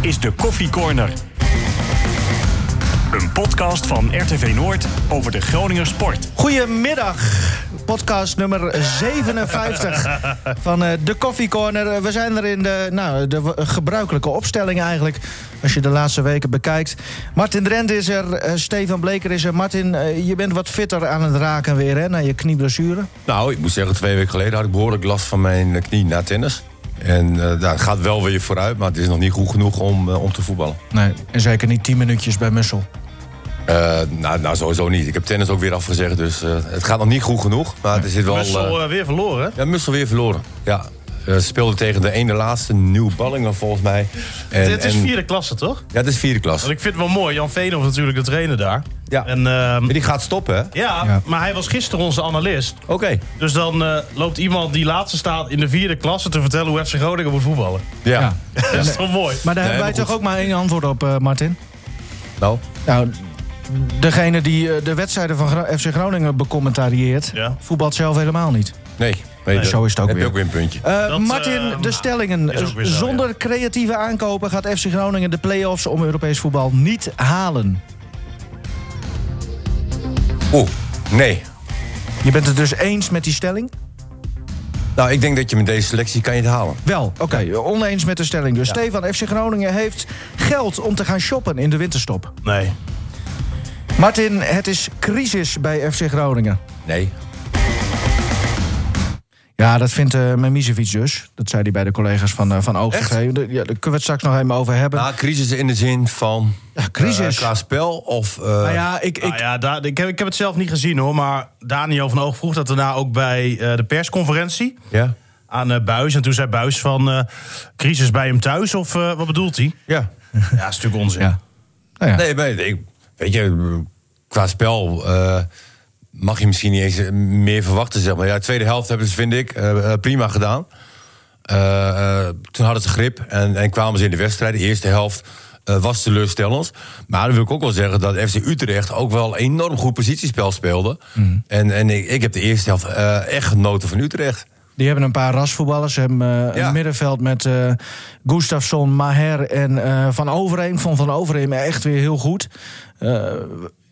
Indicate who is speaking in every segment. Speaker 1: is de Koffie Corner. Een podcast van RTV Noord over de Groninger sport.
Speaker 2: Goedemiddag, podcast nummer 57 van eh, de Coffee Corner. Eh, We zijn er in de, nou, de w- gebruikelijke opstelling eigenlijk, als je de laatste weken bekijkt. Martin Drent is er, eh, Stefan Bleker is er. Martin, eh, je bent wat fitter aan het raken weer, hè, na je knieblessure.
Speaker 3: Nou, ik moet zeggen, twee weken geleden had ik behoorlijk last van mijn eh, knie na tennis. En eh dat gaat wel weer vooruit, maar het is nog niet goed genoeg om, eh, om te voetballen.
Speaker 2: Nee, en zeker niet 10 minuutjes bij Mussel.
Speaker 3: Eh, nou, nou, sowieso niet. Ik heb tennis ook weer afgezegd, dus eh, het gaat nog niet goed genoeg. Maar er zit wel... eh,
Speaker 4: Mussel eh, weer verloren, hè?
Speaker 3: ja, Mussel weer verloren. Ja, Eh, speelde tegen de ene laatste, Nieuw Ballingen volgens mij. En,
Speaker 4: Dit is
Speaker 3: en-
Speaker 4: vierde klasse, toch?
Speaker 3: Ja, het is vierde klas.
Speaker 4: Want ik vind het wel mooi. Jan Veenhoff natuurlijk de trainer daar.
Speaker 3: Ja.
Speaker 4: En, ehm,
Speaker 3: Maar die gaat stoppen, hè?
Speaker 4: ja,
Speaker 2: Ja.
Speaker 4: maar hij was gisteren onze analist.
Speaker 3: Oké.
Speaker 4: Dus dan eh, loopt iemand die laatste staat in de vierde klasse te vertellen hoe FC Groningen moet voetballen.
Speaker 3: Ja.
Speaker 2: Ja.
Speaker 4: Dat is toch mooi?
Speaker 2: Maar daar
Speaker 3: Nee,
Speaker 2: hebben wij
Speaker 3: maar
Speaker 2: toch
Speaker 3: goed.
Speaker 2: ook maar één antwoord op, eh, Martin?
Speaker 3: Nou,
Speaker 2: Nou, degene die eh, de wedstrijden van Gro- FC Groningen becommentarieert,
Speaker 4: Ja.
Speaker 2: voetbalt zelf helemaal niet.
Speaker 3: nee. nee
Speaker 2: zo is het ook
Speaker 3: heb je
Speaker 2: weer.
Speaker 3: ook weer een puntje.
Speaker 2: Eh,
Speaker 4: Dat,
Speaker 2: Martin,
Speaker 4: eh,
Speaker 2: de stellingen.
Speaker 4: is ook weer zo,
Speaker 2: Zonder
Speaker 4: ja.
Speaker 2: creatieve aankopen gaat FC Groningen de play-offs om Europees voetbal niet halen.
Speaker 3: Oeh, nee.
Speaker 2: Je bent het dus eens met die stelling?
Speaker 3: Nou, ik denk dat je met deze selectie kan je het halen.
Speaker 2: Wel, oké, oneens met de stelling. Dus Stefan, FC Groningen heeft geld om te gaan shoppen in de winterstop.
Speaker 4: Nee.
Speaker 2: Martin, het is crisis bij FC Groningen.
Speaker 3: Nee.
Speaker 2: Ja, dat vindt eh Memisevic dus. Dat zei hij bij de collega's van, eh, van Oogstgeveen. Ja, daar kunnen we het straks nog even over hebben.
Speaker 3: Nou, crisis in de zin van...
Speaker 2: Ja, crisis.
Speaker 3: eh, qua spel of... eh,
Speaker 2: nou ja, ik,
Speaker 4: Nou
Speaker 2: ik,
Speaker 4: ja, daar, ik, heb, ik heb het zelf niet gezien hoor, maar Daniel van Oog vroeg dat daarna ook bij eh, de persconferentie
Speaker 3: ja.
Speaker 4: aan eh, Buis. En toen zei Buis van eh, crisis bij hem thuis of eh, wat bedoelt hij?
Speaker 3: ja.
Speaker 4: Ja, dat is natuurlijk onzin.
Speaker 2: ja. Nou ja.
Speaker 3: Nee, nee, ik, weet je, qua spel eh, mag je misschien niet eens eh, meer verwachten, zeg maar. Ja, de tweede helft hebben ze, vind ik, eh, eh, prima gedaan. Eh, eh, toen hadden ze grip en, en kwamen ze in de wedstrijd. De eerste helft eh, was teleurstellend. Maar dan wil ik ook wel zeggen dat FC Utrecht ook wel enorm goed positiespel speelde.
Speaker 2: Mhm.
Speaker 3: En, en ik, ik heb de eerste helft eh, echt genoten van Utrecht.
Speaker 2: Die hebben een paar rasvoetballers. Ze hebben eh,
Speaker 3: Ja.
Speaker 2: een middenveld met eh Gustafsson, Maher en eh, Van Overeem. Van Van Overeem echt weer heel goed. Eh,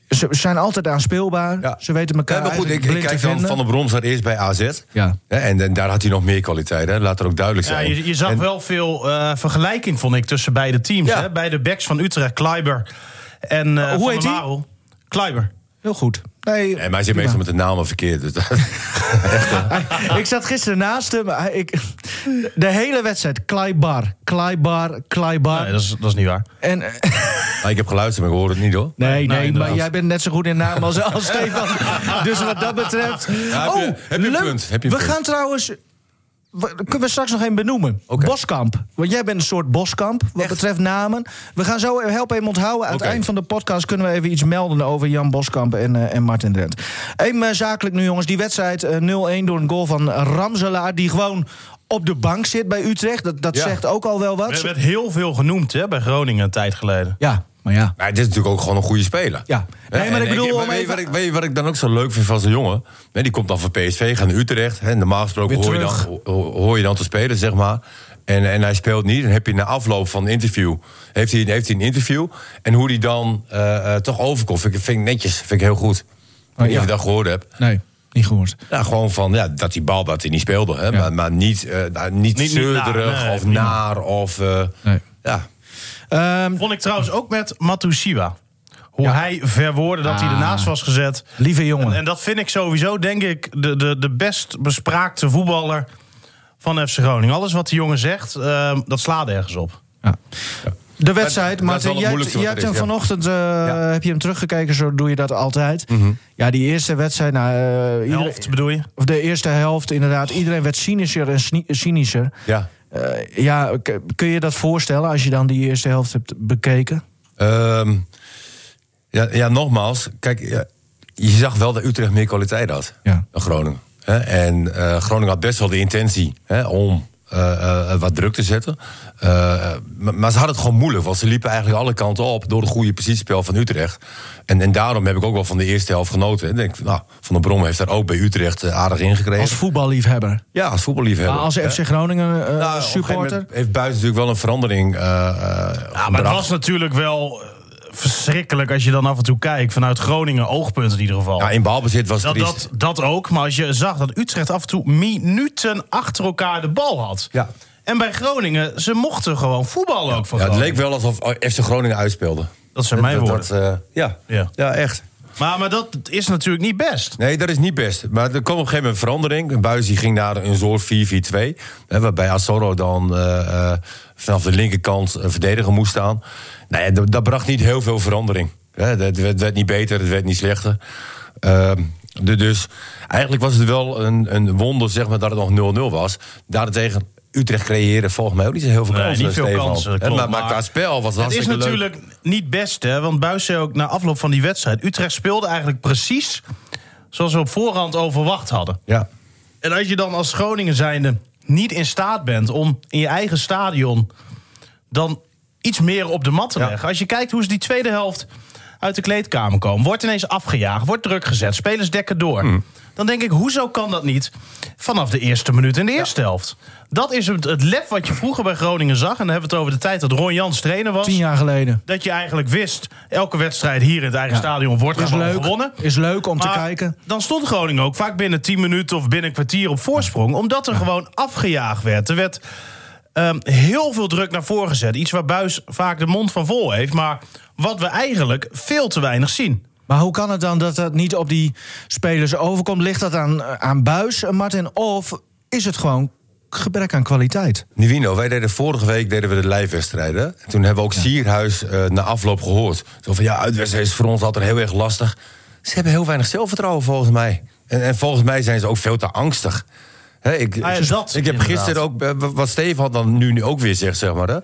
Speaker 2: ze zijn altijd aanspeelbaar.
Speaker 3: Ja.
Speaker 2: Ze weten elkaar
Speaker 3: Ja, maar goed, ik,
Speaker 2: eigenlijk
Speaker 3: ik
Speaker 2: blind
Speaker 3: kijk
Speaker 2: te
Speaker 3: dan
Speaker 2: vinden.
Speaker 3: van de Bromsar eerst bij AZ.
Speaker 2: Ja.
Speaker 3: Hè, En, en daar had hij nog meer kwaliteit, hè? laat er ook duidelijk
Speaker 4: Ja,
Speaker 3: zijn.
Speaker 4: je, je zag
Speaker 3: En-
Speaker 4: wel veel eh, vergelijking, vond ik, tussen beide teams.
Speaker 3: Ja.
Speaker 4: Hè? Beide backs van Utrecht, Kleiber en eh
Speaker 2: hoe
Speaker 4: Van
Speaker 2: heet
Speaker 4: der
Speaker 2: die?
Speaker 4: Marel. Kleiber.
Speaker 2: Heel goed. Nee,
Speaker 3: Nee, maar hij zit meestal met de namen verkeerd. Dus dat-
Speaker 2: ik zat gisteren naast hem. Hij- Ik, de hele wedstrijd. Kleibar, Kleibar, Kleibar.
Speaker 4: Nee, dat is, dat is niet waar.
Speaker 2: En,
Speaker 3: maar ik heb geluisterd, maar ik hoor het niet hoor.
Speaker 2: nee, nee, maar
Speaker 4: inderdaad.
Speaker 2: jij bent net zo goed in naam als, als Stefan. Dus wat dat betreft... Oh,
Speaker 3: heb je- heb je een
Speaker 2: leuk.
Speaker 3: punt, heb je een
Speaker 2: we
Speaker 3: punt.
Speaker 2: gaan trouwens... we- kunnen we straks nog één benoemen.
Speaker 3: Oké.
Speaker 2: Boskamp. Want jij bent een soort Boskamp, wat betreft namen. We gaan zo helpen hem onthouden. Aan het
Speaker 3: Oké.
Speaker 2: eind van de podcast kunnen we even iets melden... over Jan Boskamp en, eh, en Martin Drent. Even eh, zakelijk nu, jongens. Die wedstrijd eh, 0-1 door een goal van Ramselaar... die gewoon op de bank zit bij Utrecht. Dat, dat
Speaker 3: Ja.
Speaker 2: zegt ook al wel
Speaker 4: Er
Speaker 2: wat.
Speaker 4: werd heel veel genoemd hè, bij Groningen een tijd geleden.
Speaker 2: Ja, maar ja.
Speaker 3: Maar het is natuurlijk ook gewoon een goede speler.
Speaker 2: Ja.
Speaker 3: Hè,
Speaker 2: Nee, maar
Speaker 3: en
Speaker 2: ik bedoel, om
Speaker 3: weet, je
Speaker 2: even-
Speaker 3: wat ik, weet je wat ik dan ook zo leuk vind van zo'n jongen? Hè, die komt dan van PSV, gaat naar Utrecht. Hè, normaal gesproken
Speaker 2: Weer
Speaker 3: hoor je, dan,
Speaker 2: terug.
Speaker 3: ho- hoor je dan te spelen, zeg maar. En, en hij speelt niet. Dan heb je na afloop van een interview... heeft hij, heeft hij een interview. En hoe die dan eh, eh, toch overkomt, vind ik, vind ik netjes. Vind ik heel goed. Ik weet niet
Speaker 2: ja.
Speaker 3: of je dat gehoord hebt.
Speaker 2: Nee, niet gehoord.
Speaker 3: Ja, gewoon van ja, dat die bal dat hij niet speelde. Hè? Maar, maar niet, eh, nou, niet,
Speaker 4: niet
Speaker 3: zeuderig
Speaker 4: naar, nee,
Speaker 3: of
Speaker 4: prima.
Speaker 3: naar. Of, eh,
Speaker 2: Nee.
Speaker 3: ja.
Speaker 2: Ehm,
Speaker 4: Vond ik trouwens ook met Matusiwa. Hoe hij verwoordde dat hij
Speaker 2: Ah.
Speaker 4: ernaast was gezet.
Speaker 2: lieve jongen.
Speaker 4: En dat vind ik sowieso, denk ik, de, de, de best bespraakte voetballer van FC Groningen. Alles wat die jongen zegt, ehm, dat slaat ergens op.
Speaker 2: Ja. De wedstrijd,
Speaker 3: Dat- dat
Speaker 2: Martin,
Speaker 3: is wel het
Speaker 2: jij,
Speaker 3: moeilijkste
Speaker 2: jij
Speaker 3: wat
Speaker 2: hebt
Speaker 3: er
Speaker 2: hem
Speaker 3: is, ja.
Speaker 2: vanochtend, eh,
Speaker 3: Ja. Mhm.
Speaker 2: heb je hem teruggekeken, zo doe je dat altijd. Ja, die eerste wedstrijd, nou, eh, iedereen-
Speaker 4: Helft bedoel je?
Speaker 2: of de eerste helft inderdaad, iedereen werd cynischer en sni- cynischer.
Speaker 3: ja.
Speaker 2: Eh, ja, k- kun je dat voorstellen als je dan die eerste helft hebt bekeken?
Speaker 3: Ehm, ja, ja, nogmaals. Kijk, ja, je zag wel dat Utrecht meer kwaliteit had
Speaker 2: Ja.
Speaker 3: dan Groningen. Hè? En eh, Groningen had best wel de intentie hè, om eh, eh, wat druk te zetten. Eh, maar, maar ze hadden het gewoon moeilijk, want ze liepen eigenlijk alle kanten op door het goede positiespel van Utrecht. En, en daarom heb ik ook wel van de eerste helft genoten. Ik denk, nou, Van der Brom heeft daar ook bij Utrecht eh, aardig ingekregen.
Speaker 2: Als voetballiefhebber.
Speaker 3: ja, als voetballiefhebber.
Speaker 2: Maar als
Speaker 3: Eh,
Speaker 2: FC Groningen eh,
Speaker 3: nou, op een gegeven
Speaker 2: supporter.
Speaker 3: moment heeft buiten natuurlijk wel een verandering. eh
Speaker 4: Ja, maar het was natuurlijk wel eh, verschrikkelijk als je dan af en toe kijkt vanuit Groningen oogpunt in ieder geval.
Speaker 3: ja, in balbezit was het
Speaker 4: dat,
Speaker 3: triest.
Speaker 4: dat, dat ook, maar als je zag dat Utrecht af en toe minuten achter elkaar de bal had.
Speaker 3: Ja.
Speaker 4: En bij Groningen, ze mochten gewoon voetballen ook van
Speaker 3: Ja, het
Speaker 4: Groningen.
Speaker 3: leek wel alsof FC Groningen uitspeelde.
Speaker 4: Dat zijn mijn
Speaker 3: Dat-
Speaker 4: woorden.
Speaker 3: dat, eh, ja.
Speaker 4: Ja.
Speaker 3: Ja. echt.
Speaker 4: Maar, maar dat is natuurlijk niet best.
Speaker 3: Nee, dat is niet best. Maar er kwam op een gegeven moment verandering. Buis die ging naar een soort 4-4-2. Hè, waarbij Asoro dan eh, eh, vanaf de linkerkant eh, verdedigen moest staan. Nou ja, dat, dat bracht niet heel veel verandering. Hè, het werd, werd niet beter, het werd niet slechter. Ehm, de- dus eigenlijk was het wel een, een wonder zeg maar, dat het nog 0-0 was. Daarentegen, Utrecht creëren volgens mij ook niet zo heel veel
Speaker 4: Nee,
Speaker 3: kansen.
Speaker 4: niet veel
Speaker 3: Stefan.
Speaker 4: kansen,
Speaker 3: Hè,
Speaker 4: klopt,
Speaker 3: maar, maar
Speaker 4: maar
Speaker 3: qua spel was het
Speaker 4: Het is
Speaker 3: hartstikke leuk.
Speaker 4: natuurlijk niet best, hè, want Buis zei ook na afloop van die wedstrijd... Utrecht speelde eigenlijk precies zoals we op voorhand overwacht hadden.
Speaker 3: Ja.
Speaker 4: En als je dan als Groningen zijnde niet in staat bent om in je eigen stadion dan iets meer op de mat te
Speaker 3: Ja.
Speaker 4: leggen. Als je kijkt hoe ze die tweede helft uit de kleedkamer komen, wordt ineens afgejaagd, wordt druk gezet, spelers dekken door. Dan denk ik, hoezo kan dat niet vanaf de eerste minuut in de eerste helft? Dat is het, het lef wat je vroeger bij Groningen zag. En dan hebben we het over de tijd dat Ron Jans trainer was.
Speaker 2: Tien jaar geleden.
Speaker 4: Dat je eigenlijk wist, elke wedstrijd hier in het eigen
Speaker 2: Ja.
Speaker 4: stadion wordt
Speaker 2: Is
Speaker 4: gewoon
Speaker 2: leuk,
Speaker 4: gewonnen.
Speaker 2: is leuk om te
Speaker 4: Maar
Speaker 2: kijken.
Speaker 4: Dan stond Groningen ook vaak binnen 10 minuten of binnen een kwartier op voorsprong. Omdat er gewoon afgejaagd werd. Er werd ehm, heel veel druk naar voren gezet. Iets waar Buis vaak de mond van vol heeft. Maar wat we eigenlijk veel te weinig zien.
Speaker 2: Maar hoe kan het dan dat dat niet op die spelers overkomt? Ligt dat aan, aan buis, eh, Martin? Of is het gewoon gebrek aan kwaliteit?
Speaker 3: Nivino, wij deden vorige week deden we de lijfwedstrijden. En Toen hebben we ook Sierhuis eh, na afloop gehoord. Zo van ja, uitwedstrijd is voor ons altijd heel erg lastig. Ze hebben heel weinig zelfvertrouwen volgens mij. En, en volgens mij zijn ze ook veel te angstig. Hè, ik,
Speaker 4: Ah ja, dat
Speaker 3: ik heb
Speaker 4: inderdaad.
Speaker 3: gisteren ook, eh, wa- wat Steve had dan nu ook weer zegt, zeg maar. Hè.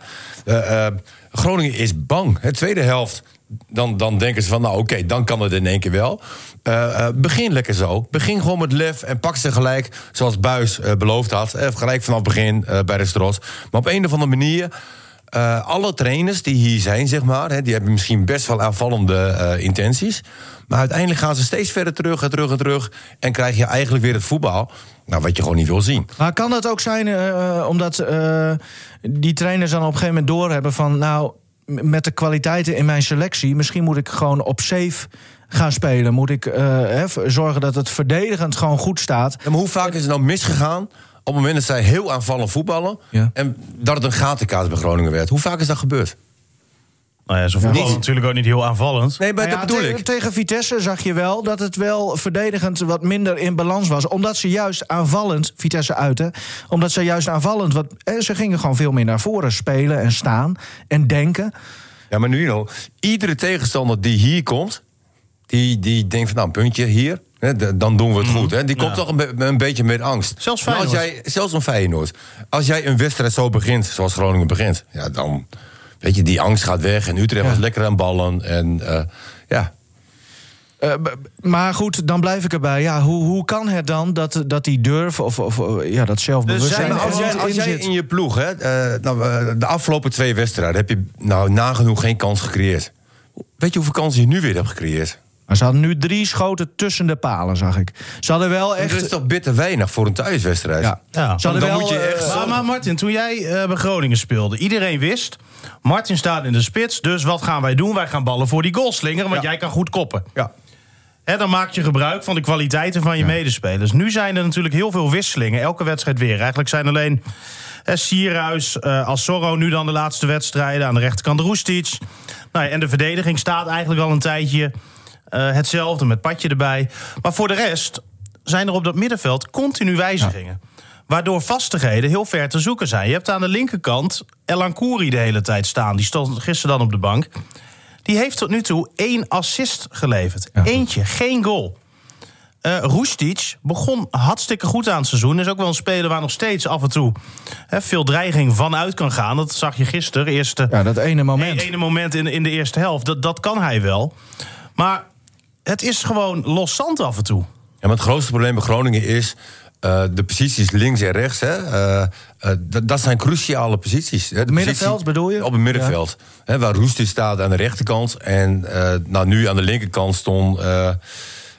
Speaker 3: Eh, eh, Groningen is bang. Hè, tweede helft, dan, dan denken ze van, nou oké, dan kan het in één keer wel. Eh, eh, begin lekker zo. Begin gewoon met lef en pak ze gelijk, zoals Buis beloofd had. Eh, gelijk vanaf het begin eh, bij de Stros. Maar op een of andere manier... eh, alle trainers die hier zijn, zeg maar, hè, die hebben misschien best wel aanvallende eh, intenties. Maar uiteindelijk gaan ze steeds verder terug en terug en terug. En krijg je eigenlijk weer het voetbal. Nou, wat je gewoon niet wil zien.
Speaker 2: Maar kan dat ook zijn eh, omdat eh, die trainers dan op een gegeven moment doorhebben van... nou, m- met de kwaliteiten in mijn selectie, misschien moet ik gewoon op safe gaan spelen. Moet ik eh, hè, v- zorgen dat het verdedigend gewoon goed staat.
Speaker 3: Ja, maar hoe vaak is het nou misgegaan op het moment dat zij heel aanvallend voetballen...
Speaker 2: Ja.
Speaker 3: en dat het een gatenkaart bij Groningen werd? Hoe vaak is dat gebeurd?
Speaker 4: Nou ja, ze voetballen
Speaker 3: Niet-
Speaker 4: natuurlijk ook niet heel aanvallend.
Speaker 3: Nee, maar
Speaker 2: Nou ja,
Speaker 3: dat bedoel
Speaker 2: tegen-
Speaker 3: ik.
Speaker 2: Tegen Vitesse zag je wel dat het wel verdedigend wat minder in balans was. Omdat ze juist aanvallend, Vitesse uiten, omdat ze juist aanvallend... Wat, eh, ze gingen gewoon veel meer naar voren spelen en staan en denken.
Speaker 3: Ja, maar nu al. Iedere tegenstander die hier komt... die, die denkt van, nou, een puntje hier... Hè, d- dan doen we het goed. Hè. Die komt toch een, be- een beetje met angst.
Speaker 4: Zelfs
Speaker 3: Maar als
Speaker 4: Feyenoord.
Speaker 3: jij, Zelfs een Feyenoord. Als jij een wedstrijd zo begint, zoals Groningen begint... ja, dan... Weet je, die angst gaat weg. En Utrecht was lekker aan ballen. En eh, ja,
Speaker 2: Eh, b- b- maar goed, dan blijf ik erbij. Ja, hoe, hoe kan het dan dat, dat die durf of, of eh, ja, dat
Speaker 4: zijn
Speaker 2: zelfbewustzijn
Speaker 3: Maar
Speaker 2: er
Speaker 3: Dus als,
Speaker 4: er
Speaker 3: jij,
Speaker 2: niet
Speaker 3: als
Speaker 2: in
Speaker 3: jij
Speaker 2: zit?
Speaker 3: in je ploeg, hè, eh, nou, eh, de afgelopen twee wedstrijden, heb je nou nagenoeg geen kans gecreëerd. Weet je hoeveel kansen je nu weer hebt gecreëerd?
Speaker 2: Maar ze hadden nu drie schoten tussen de palen, zag ik. Ze hadden wel
Speaker 3: Echt? Dat is
Speaker 2: echt...
Speaker 3: toch bitter weinig voor een thuiswedstrijd?
Speaker 2: Ja.
Speaker 4: Ja.
Speaker 2: Ze hadden
Speaker 3: Dan
Speaker 2: wel,
Speaker 3: moet je
Speaker 2: eh,
Speaker 3: echt-
Speaker 4: Maar, maar Martin, toen jij eh, bij Groningen speelde, iedereen wist... Martin staat in de spits, dus wat gaan wij doen? Wij gaan ballen voor die goal slingeren, want jij kan goed koppen.
Speaker 3: Ja.
Speaker 4: Hè, dan maak je gebruik van de kwaliteiten van je medespelers. Nu zijn er natuurlijk heel veel wisselingen, elke wedstrijd weer. Eigenlijk zijn alleen eh, Sierhuis, eh Assorro nu dan de laatste wedstrijden... aan de rechterkant Roestic. Nou ja, en de verdediging staat eigenlijk al een tijdje eh, hetzelfde, met Patje erbij. Maar voor de rest zijn er op dat middenveld continu wijzigingen. Waardoor vastigheden heel ver te zoeken zijn. Je hebt aan de linkerkant Elan Kouri de hele tijd staan. Die stond gisteren dan op de bank. Die heeft tot nu toe één assist geleverd. Eentje, geen goal. Eh Roestic begon hartstikke goed aan het seizoen. Is ook wel een speler waar nog steeds af en toe hè, veel dreiging vanuit kan gaan. Dat zag je gisteren. Eerste
Speaker 2: Ja, dat ene moment.
Speaker 4: het ene moment in, in de eerste helft. Dat, dat kan hij wel. Maar het is gewoon los zand af en toe.
Speaker 3: Ja, maar het grootste probleem bij Groningen is... eh, de posities links en rechts, hè, eh, eh, dat- dat zijn cruciale posities. Hè. De
Speaker 2: Middenveld
Speaker 3: positie-
Speaker 2: bedoel je?
Speaker 3: Op het middenveld. Hè, waar Roestic staat aan de rechterkant. En eh, nou, nu aan de linkerkant stond eh eh,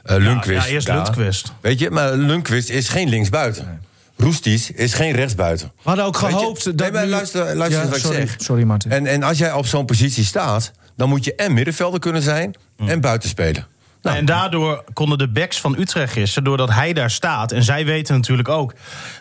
Speaker 3: Lundqvist.
Speaker 4: ja, eerst
Speaker 3: daar.
Speaker 4: Lundqvist.
Speaker 3: Weet je, maar Lundqvist is geen linksbuiten. Roestic is geen rechtsbuiten.
Speaker 2: We hadden ook
Speaker 3: Weet je-
Speaker 2: gehoopt dat
Speaker 3: Nee, maar
Speaker 2: nu-
Speaker 3: luister, luister
Speaker 2: Ja,
Speaker 3: eens wat
Speaker 2: sorry,
Speaker 3: ik zeg.
Speaker 2: sorry, Martin.
Speaker 3: En, en als jij op zo'n positie staat, dan moet je en middenvelder kunnen zijn
Speaker 2: Mm.
Speaker 3: en buitenspeler. Nou,
Speaker 4: En daardoor konden de backs van Utrecht gisteren, doordat hij daar staat... en zij weten natuurlijk ook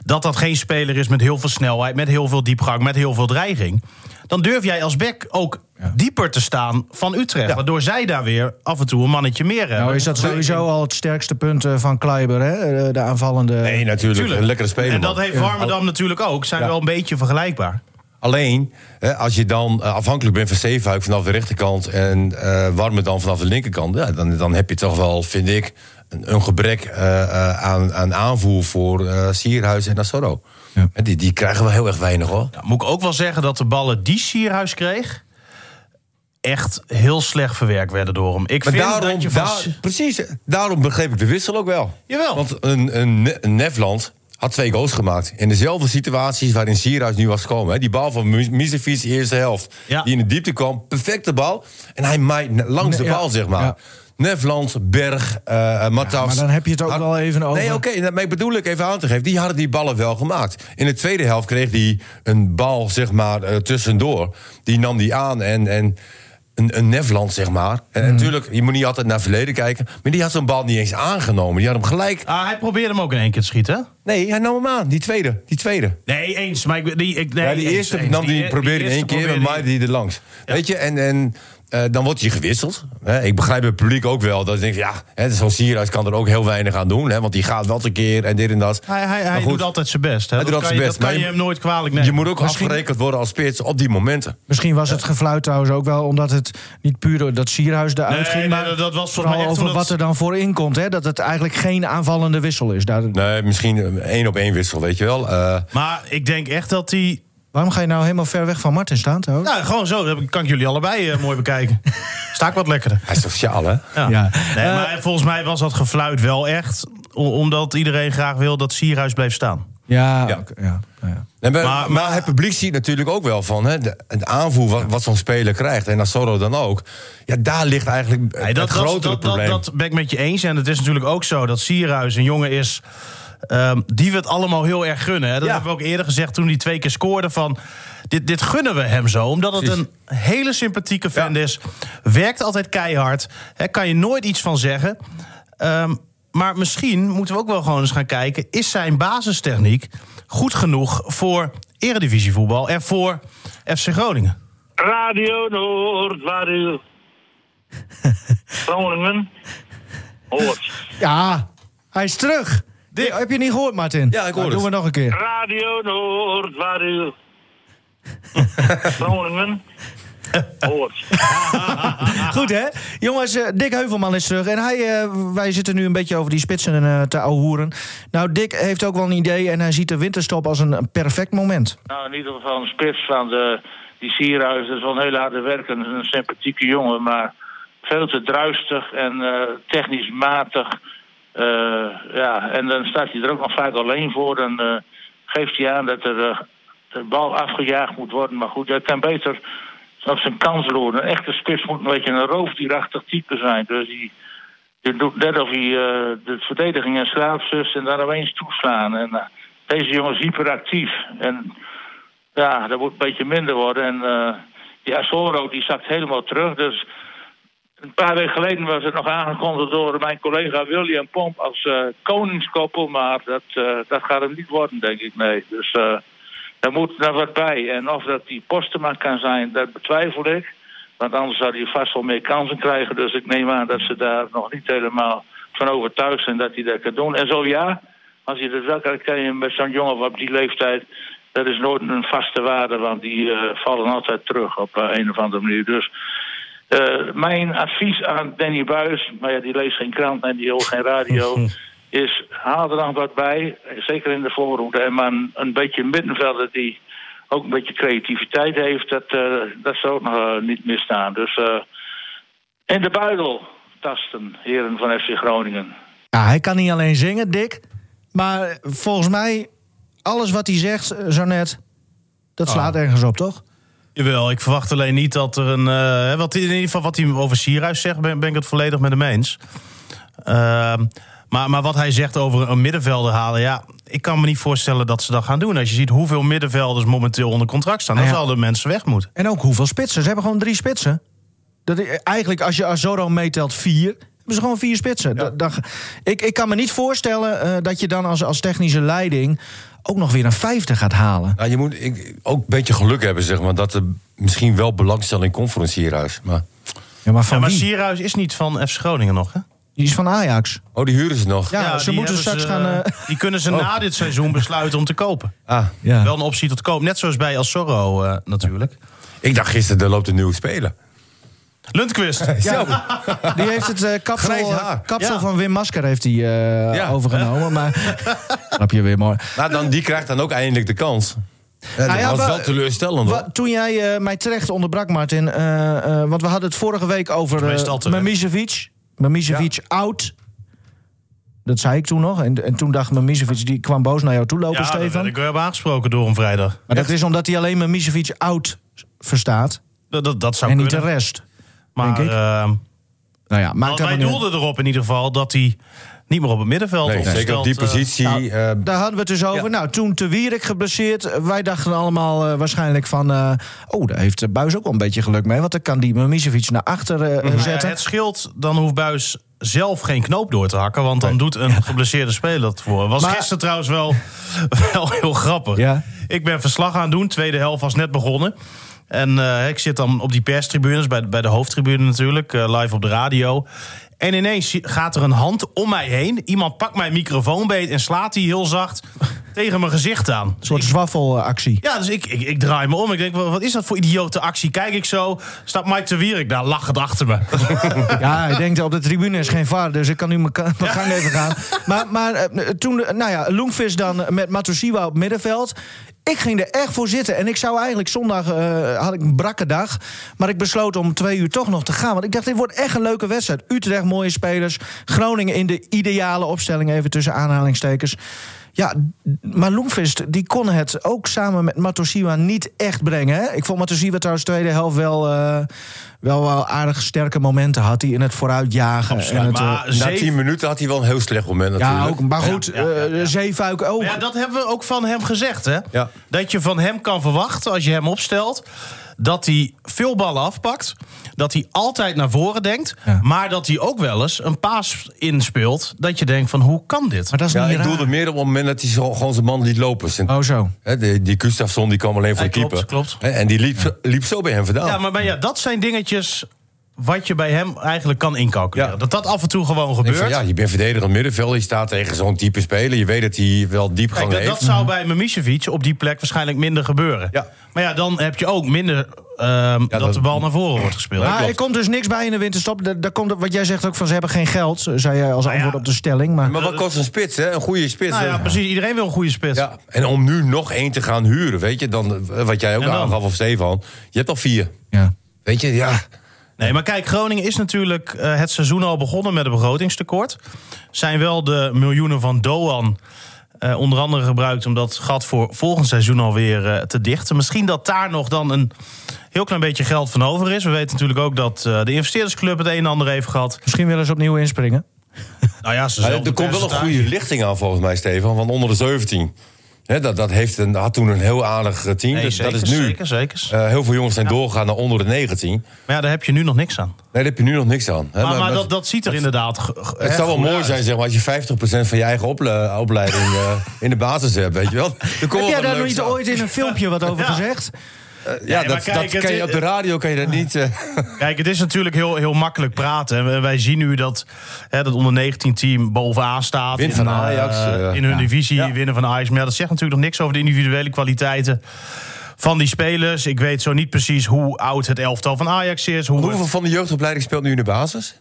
Speaker 4: dat dat geen speler is met heel veel snelheid... met heel veel diepgang, met heel veel dreiging... dan durf jij als back ook dieper te staan van Utrecht. Waardoor zij daar weer af en toe een mannetje meer hebben.
Speaker 2: Nou is dat sowieso al het sterkste punt eh, van Kleiber, hè? Eh, De aanvallende...
Speaker 3: nee, natuurlijk.
Speaker 4: Tuurlijk.
Speaker 3: Een lekkere speler.
Speaker 4: En dat
Speaker 3: man.
Speaker 4: heeft Warmerdam natuurlijk ook. Zijn wel een beetje vergelijkbaar.
Speaker 3: Alleen, hè, als je dan eh, afhankelijk bent van Zeefuik vanaf de rechterkant... en eh Warme dan vanaf de linkerkant... Ja, dan, dan heb je toch wel, vind ik, een, een gebrek eh, eh, aan, aan aanvoer voor eh, Sierhuis en Nassoro. En Die, die krijgen we heel erg weinig, hoor.
Speaker 4: Nou, moet ik ook wel zeggen dat de ballen die Sierhuis kreeg... echt heel slecht verwerkt werden door hem. Ik
Speaker 3: Maar
Speaker 4: vind
Speaker 3: daarom,
Speaker 4: dat je van...
Speaker 3: daar- precies, daarom begreep ik de wissel ook wel.
Speaker 4: Jawel.
Speaker 3: Want een, een, Ne- een Nefland had twee goals gemaakt. In dezelfde situaties waarin Sierhuis nu was gekomen. hè. Die bal van Mu- Misevic, eerste helft.
Speaker 4: Ja.
Speaker 3: Die in de diepte kwam. Perfecte bal. En hij maait na- langs de
Speaker 2: Nee, ja,
Speaker 3: bal, zeg maar.
Speaker 2: ja.
Speaker 3: Nefland, Berg, eh Matas.
Speaker 2: maar dan heb je het ook wel even over.
Speaker 3: Nee, oké. dat maar ik bedoel ik even aan te geven. Die hadden die ballen wel gemaakt. In de tweede helft kreeg hij een bal, zeg maar, eh, tussendoor. Die nam die aan en... en een, een Nefland, zeg maar. En
Speaker 2: Hmm.
Speaker 3: natuurlijk, je moet niet altijd naar het verleden kijken. Maar die had zo'n bal niet eens aangenomen. Die had hem gelijk.
Speaker 4: Ah, hij probeerde hem ook in één keer te schieten. hè?
Speaker 3: Nee, hij nam hem aan. Die tweede. Die tweede.
Speaker 4: Nee, eens. Maar ik, die, ik, nee,
Speaker 3: Ja, die
Speaker 4: eens,
Speaker 3: eerste
Speaker 4: eens.
Speaker 3: nam die,
Speaker 4: e-
Speaker 3: probeerde in één
Speaker 4: eerste
Speaker 3: keer, maar
Speaker 4: probeerde
Speaker 3: maaide die er langs. Weet je, en, en eh, dan wordt je gewisseld. Hè, ik begrijp het publiek ook wel. Dat ze denken, ja, hè, zo'n Sierhuis kan er ook heel weinig aan doen. Hè, want die gaat wel een keer en dit en dat.
Speaker 4: Hij, hij,
Speaker 3: Maar
Speaker 4: hij
Speaker 3: goed,
Speaker 4: doet altijd zijn best. Hè?
Speaker 3: Hij
Speaker 4: Dat
Speaker 3: doet
Speaker 4: kan
Speaker 3: altijd
Speaker 4: je-
Speaker 3: zijn best,
Speaker 4: Dat
Speaker 3: maar
Speaker 4: kan je
Speaker 3: je-
Speaker 4: hem nooit kwalijk nemen.
Speaker 3: Je moet ook
Speaker 2: Misschien-
Speaker 3: afgerekend worden als spits op die momenten.
Speaker 2: Misschien was
Speaker 4: Eh.
Speaker 2: het gefluit trouwens ook wel omdat het niet puur door dat Sierhuis eruit
Speaker 4: Nee,
Speaker 2: ging.
Speaker 4: nee,
Speaker 2: Maar
Speaker 4: dat- dat was volgens
Speaker 2: vooral
Speaker 4: mij echt
Speaker 2: over
Speaker 4: omdat-
Speaker 2: wat er dan voor inkomt. Hè? Dat het eigenlijk geen aanvallende wissel is. Daar...
Speaker 3: Nee, misschien een één op één wissel, weet je wel. Eh,
Speaker 4: Maar ik denk echt dat hij...
Speaker 2: Waarom ga je nou helemaal ver weg van Martin staan? Trouwens?
Speaker 4: Nou, gewoon zo. Dat kan ik jullie allebei eh, mooi bekijken. Sta ik wat lekkerder.
Speaker 3: hij is sociaal, hè?
Speaker 4: Ja.
Speaker 2: Ja.
Speaker 4: Nee,
Speaker 3: Eh.
Speaker 4: maar volgens mij was dat gefluit wel echt... o- omdat iedereen graag wil dat Sierhuis blijft staan.
Speaker 2: Ja,
Speaker 3: Ja.
Speaker 2: oké, ja, nou ja.
Speaker 3: Nee, maar,
Speaker 4: Maar-
Speaker 3: maar, het publiek ziet natuurlijk ook wel van hè, de, het aanvoer wat, wat zo'n speler krijgt. En Nassoro dan ook. Ja, daar ligt eigenlijk
Speaker 4: Nee,
Speaker 3: het
Speaker 4: dat, dat,
Speaker 3: grotere
Speaker 4: dat, dat,
Speaker 3: probleem.
Speaker 4: dat ben ik met je eens. En het is natuurlijk ook zo dat Sierhuis een jongen is... ehm, die we het allemaal heel erg gunnen. Hè? Dat
Speaker 3: Ja.
Speaker 4: hebben we ook eerder gezegd toen hij twee keer scoorde. Van, dit, dit gunnen we hem zo. Omdat het
Speaker 3: Precies.
Speaker 4: een hele sympathieke fan
Speaker 3: Ja.
Speaker 4: is. Werkt altijd keihard. Hè? Kan je nooit iets van zeggen. Ehm, maar misschien moeten we ook wel gewoon eens gaan kijken... is zijn basistechniek goed genoeg voor eredivisievoetbal... en voor FC Groningen?
Speaker 5: Radio Noord, waar u Groningen hoort.
Speaker 2: ja, hij is terug.
Speaker 4: Dick.
Speaker 2: Heb je niet gehoord, Martin? Nou,
Speaker 3: Ja, ik hoor
Speaker 2: Doen
Speaker 3: het.
Speaker 2: we nog een keer.
Speaker 5: Radio Noord, waar u Groningen hoort.
Speaker 2: Goed, hè? Jongens, eh, Dick Heuvelman is terug. En hij, eh, wij zitten nu een beetje over die spitsen eh, te ouwehoeren. Nou, Dick heeft ook wel een idee en hij ziet de winterstop als een een perfect moment.
Speaker 5: Nou, in ieder geval een spits van de, die Sierhuis. Dat is wel een hele harde werker, een sympathieke jongen. Maar veel te druistig en eh, technisch matig. Eh, ja, en dan staat hij er ook nog vaak alleen voor. Dan eh, geeft hij aan dat er eh, de bal afgejaagd moet worden. Maar goed, hij kan beter op zijn kans roeren. Een echte spits moet een beetje een roofdierachtig type zijn. Dus die, die doet net of hij eh, de verdediging en slaapzus en daar opeens toeslaan. En eh, deze jongen is hyperactief. En ja, dat moet een beetje minder worden. En eh die Asoro die zakt helemaal terug. Dus een paar weken geleden was het nog aangekondigd door mijn collega William Pomp als eh, koningskoppel. Maar dat, eh, dat gaat hem niet worden, denk ik. Nee. Dus eh, daar moet daar wat bij. En of dat die Postema kan zijn, dat betwijfel ik. Want anders zou hij vast wel meer kansen krijgen. Dus ik neem aan dat ze daar nog niet helemaal van overtuigd zijn dat hij dat kan doen. En zo ja, als je dat wel kan, kan je met zo'n jongen op die leeftijd. Dat is nooit een vaste waarde, want die eh, vallen altijd terug op eh, een of andere manier. Dus eh, mijn advies aan Danny Buis, maar ja, die leest geen krant en die hoort geen radio, is haal er dan wat bij, zeker in de voorhoede. En maar een, een beetje middenvelder die ook een beetje creativiteit heeft, dat, eh, dat zou ook nog eh, niet misstaan. Dus eh, in de buidel tasten, heren van FC Groningen.
Speaker 2: Ja, hij kan niet alleen zingen, Dick. Maar volgens mij, alles wat hij zegt eh, zo net, dat slaat
Speaker 4: Ah.
Speaker 2: ergens op, toch?
Speaker 4: Jawel, ik verwacht alleen niet dat er een. eh, wat, in ieder geval wat hij over Sierhuis zegt, ben, ben ik het volledig met hem eens. Ehm, maar, maar wat hij zegt over een middenvelder halen, ja, ik kan me niet voorstellen dat ze dat gaan doen. Als je ziet hoeveel middenvelders momenteel onder contract staan, dan
Speaker 2: Nou ja.
Speaker 4: zouden mensen weg moeten.
Speaker 2: En ook hoeveel spitsen. Ze hebben gewoon drie spitsen. Dat, i- eigenlijk, als je Azoro meetelt, vier. Hebben ze gewoon vier spitsen. Da- da- ik, ik kan me niet voorstellen eh, dat je dan als, als technische leiding... ook nog weer een vijfde gaat halen.
Speaker 3: Ja, Nou, je moet ik, ook een beetje geluk hebben, zeg maar. Dat er misschien wel belangstelling komt voor een sierhuis. Maar,
Speaker 2: Ja, maar van
Speaker 4: Ja, maar
Speaker 2: wie?
Speaker 4: Sierhuis is niet van FC Groningen nog, hè?
Speaker 2: Die is van Ajax.
Speaker 3: oh, die huren ze nog.
Speaker 2: Ja, ze
Speaker 4: die
Speaker 2: moeten
Speaker 4: hebben
Speaker 2: straks gaan... eh,
Speaker 4: Die kunnen ze na dit seizoen besluiten om te kopen.
Speaker 3: Ah,
Speaker 2: ja.
Speaker 4: Wel een optie tot koop, net zoals bij Alsorro eh, natuurlijk.
Speaker 3: ik dacht gisteren, er loopt een nieuwe speler.
Speaker 4: Lundqvist.
Speaker 3: Zo.
Speaker 2: Die heeft het eh, kapsel,
Speaker 3: Grijs haar.
Speaker 2: eh, kapsel
Speaker 4: Ja.
Speaker 2: van Wim Masker heeft hij eh,
Speaker 3: Ja.
Speaker 2: overgenomen. Maar snap je weer mooi.
Speaker 3: Nou, dan, die krijgt dan ook eindelijk de kans. Ja,
Speaker 2: Nou ja,
Speaker 3: dat was
Speaker 2: wa-
Speaker 3: wel teleurstellend. hoor.
Speaker 2: Wa- toen jij eh, mij terecht onderbrak, Martin. eh, eh, want we hadden het vorige week over
Speaker 4: Tenminste,
Speaker 2: eh
Speaker 4: al terecht.
Speaker 2: Mamisevic. Mamisevic oud. Dat zei ik toen nog. En, en toen dacht Mamisevic, die kwam boos naar jou toe lopen,
Speaker 4: Ja, daar
Speaker 2: Stefan.
Speaker 4: werd ik wel aangesproken door hem vrijdag.
Speaker 2: Maar dat is omdat hij alleen Mamisevic oud verstaat.
Speaker 4: Dat, dat, dat zou
Speaker 2: en niet
Speaker 4: kunnen.
Speaker 2: de rest.
Speaker 4: maar
Speaker 2: denk ik.
Speaker 4: ehm,
Speaker 2: Nou ja, maakt
Speaker 4: wij
Speaker 2: helemaal niet uit.
Speaker 4: doelden erop in ieder geval dat hij niet meer op het middenveld
Speaker 3: nee, zeker op die
Speaker 4: opgesteld, eh,
Speaker 3: positie.
Speaker 2: nou,
Speaker 3: eh,
Speaker 2: Daar hadden we het dus over. Nou, toen Te Wierik geblesseerd. Wij dachten allemaal eh, waarschijnlijk van... eh, oh, daar heeft eh, Buis ook wel een beetje geluk mee. Want dan kan die Mamisevic naar achter eh, eh,
Speaker 4: Nou ja,
Speaker 2: zetten.
Speaker 4: het scheelt, dan hoeft Buis zelf geen knoop door te hakken. Want dan doet een geblesseerde speler dat voor. Was
Speaker 2: Maar-
Speaker 4: gisteren trouwens wel, wel heel grappig.
Speaker 2: Ja.
Speaker 4: Ik ben verslag aan het doen. Tweede helft was net begonnen. En eh, ik zit dan op die perstribunes, bij, bij de hoofdtribune natuurlijk, eh, live op de radio. En ineens gaat er een hand om mij heen. Iemand pakt mijn microfoon beet en slaat die heel zacht tegen mijn gezicht aan.
Speaker 2: Een soort zwaffelactie.
Speaker 4: Ja, dus ik, ik, ik draai me om. Ik denk, wa- wat is dat voor idiote actie? Kijk ik zo, staat Mike de Wierik daar lachend achter me.
Speaker 2: Ja, ik denk dat op de tribune is geen vaar, dus ik kan nu mijn ka- mijn gang even gaan. Maar, maar eh, toen, eh, nou ja, Loengvis dan met Matosiwa op middenveld. Ik ging er echt voor zitten. En ik zou eigenlijk zondag, eh, had ik een brakke dag. Maar ik besloot om twee uur toch nog te gaan. Want ik dacht, dit wordt echt een leuke wedstrijd. Utrecht, mooie spelers. Groningen in de ideale opstelling, even tussen aanhalingstekens. Ja, d- maar Loengvist, die kon het ook samen met Matosiwa niet echt brengen. Hè? Ik vond Matosiwa trouwens tweede helft wel, eh, wel, wel aardig sterke momenten had hij in het vooruitjagen. en het, eh,
Speaker 4: maar
Speaker 3: na
Speaker 4: zeven-
Speaker 3: tien minuten had hij wel een heel slecht moment
Speaker 2: ja,
Speaker 3: natuurlijk.
Speaker 2: ook, maar goed,
Speaker 4: Ja, ja,
Speaker 2: eh, Zeefuik ook.
Speaker 4: Maar ja, dat hebben we ook van hem gezegd, hè?
Speaker 3: Ja.
Speaker 4: Dat je van hem kan verwachten, als je hem opstelt... dat hij veel ballen afpakt, dat hij altijd naar voren denkt...
Speaker 2: Ja.
Speaker 4: maar dat hij ook wel eens een paas inspeelt... dat je denkt van, hoe kan dit?
Speaker 2: Maar dat is
Speaker 3: Ja,
Speaker 2: niet
Speaker 3: ik
Speaker 2: raar.
Speaker 3: doelde meer op het moment dat hij zo, gewoon zijn man liet lopen. Zijn-
Speaker 2: Oh zo.
Speaker 3: hè, die, die Gustafsson die kwam alleen voor
Speaker 4: Ja,
Speaker 3: de keeper.
Speaker 4: klopt, klopt.
Speaker 3: Hè, En die liep, zo- liep zo bij hem vandaan.
Speaker 4: Ja, maar, maar ja, dat zijn dingetjes wat je bij hem eigenlijk kan incalculeren.
Speaker 3: Ja.
Speaker 4: Dat dat af en toe gewoon
Speaker 3: Ik denk
Speaker 4: gebeurt.
Speaker 3: van, ja, je bent verdedigend middenveld. Je staat tegen zo'n type speler. Je weet dat hij wel diepgang
Speaker 4: Kijk, dat,
Speaker 3: heeft.
Speaker 4: dat zou bij Mimicevic op die plek waarschijnlijk minder gebeuren.
Speaker 3: Ja.
Speaker 4: Maar ja, dan heb je ook minder ehm, dat,
Speaker 3: dat-
Speaker 4: de bal naar voren wordt gespeeld.
Speaker 2: Maar er komt dus niks bij in de winterstop. Daar, daar komt, wat jij zegt ook van ze hebben geen geld, zei jij als antwoord op de stelling. Maar,
Speaker 3: Maar wat kost een spits, hè? Een goede spits.
Speaker 4: nou ja,
Speaker 3: hè?
Speaker 4: precies. Iedereen wil een goede spits.
Speaker 3: Ja, en om nu nog één te gaan huren, weet je, dan, eh, wat jij ook
Speaker 4: En dan?
Speaker 3: aangaf of Stefan, je hebt al vier.
Speaker 2: ja.
Speaker 3: Weet je, ja.
Speaker 4: Nee, maar kijk, Groningen is natuurlijk eh, het seizoen al begonnen met een begrotingstekort. Zijn wel de miljoenen van Doan eh, onder andere gebruikt om dat gat voor volgend seizoen alweer eh, te dichten. Misschien dat daar nog dan een heel klein beetje geld van over is. We weten natuurlijk ook dat eh, de investeerdersclub het een en ander heeft gehad.
Speaker 2: Misschien willen ze opnieuw inspringen.
Speaker 4: Nou ja, ze
Speaker 3: Maar er komt wel een goede lichting aan volgens mij, Stefan, want onder de 17. Hè, dat dat heeft een, had toen een heel aardig eh, team.
Speaker 4: Nee,
Speaker 3: dus
Speaker 4: zeker,
Speaker 3: dat is nu.
Speaker 4: Zeker, zeker.
Speaker 3: eh, heel veel jongens zijn doorgegaan naar onder de 19. Nee,
Speaker 4: Maar ja, daar heb je nu nog niks aan.
Speaker 3: daar heb je nu nog niks aan. Hè,
Speaker 4: Maar, maar
Speaker 3: maar-
Speaker 4: dat, dat ziet er inderdaad. ge- ge-
Speaker 3: het
Speaker 4: hè,
Speaker 3: zou wel
Speaker 4: goed
Speaker 3: mooi
Speaker 4: uit.
Speaker 3: zijn zeg maar, als je 50% van je eigen ople- opleiding eh, in de basis hebt, weet je wel. Er komt
Speaker 2: Heb
Speaker 3: wel
Speaker 2: jij
Speaker 3: wat
Speaker 2: daar nog
Speaker 3: leuks
Speaker 2: niet
Speaker 3: aan.
Speaker 2: ooit in een filmpje wat over
Speaker 4: Ja.
Speaker 2: gezegd?
Speaker 3: Ja,
Speaker 4: Nee, maar
Speaker 3: dat,
Speaker 4: kijk,
Speaker 3: dat
Speaker 4: het
Speaker 3: kan je,
Speaker 4: is-
Speaker 3: op de radio kan je dat niet... eh,
Speaker 4: Kijk, het is natuurlijk heel, heel makkelijk praten. En we- wij zien nu dat hè, dat onder 19 team bovenaan staat.
Speaker 3: Wint van
Speaker 4: eh,
Speaker 3: Ajax, eh,
Speaker 4: in hun divisie, winnen van Ajax. Maar ja, dat zegt natuurlijk nog niks over de individuele kwaliteiten van die spelers. Ik weet zo niet precies hoe oud het elftal van Ajax is. Hoe
Speaker 3: Hoeveel van de jeugdopleiding speelt nu in de basis?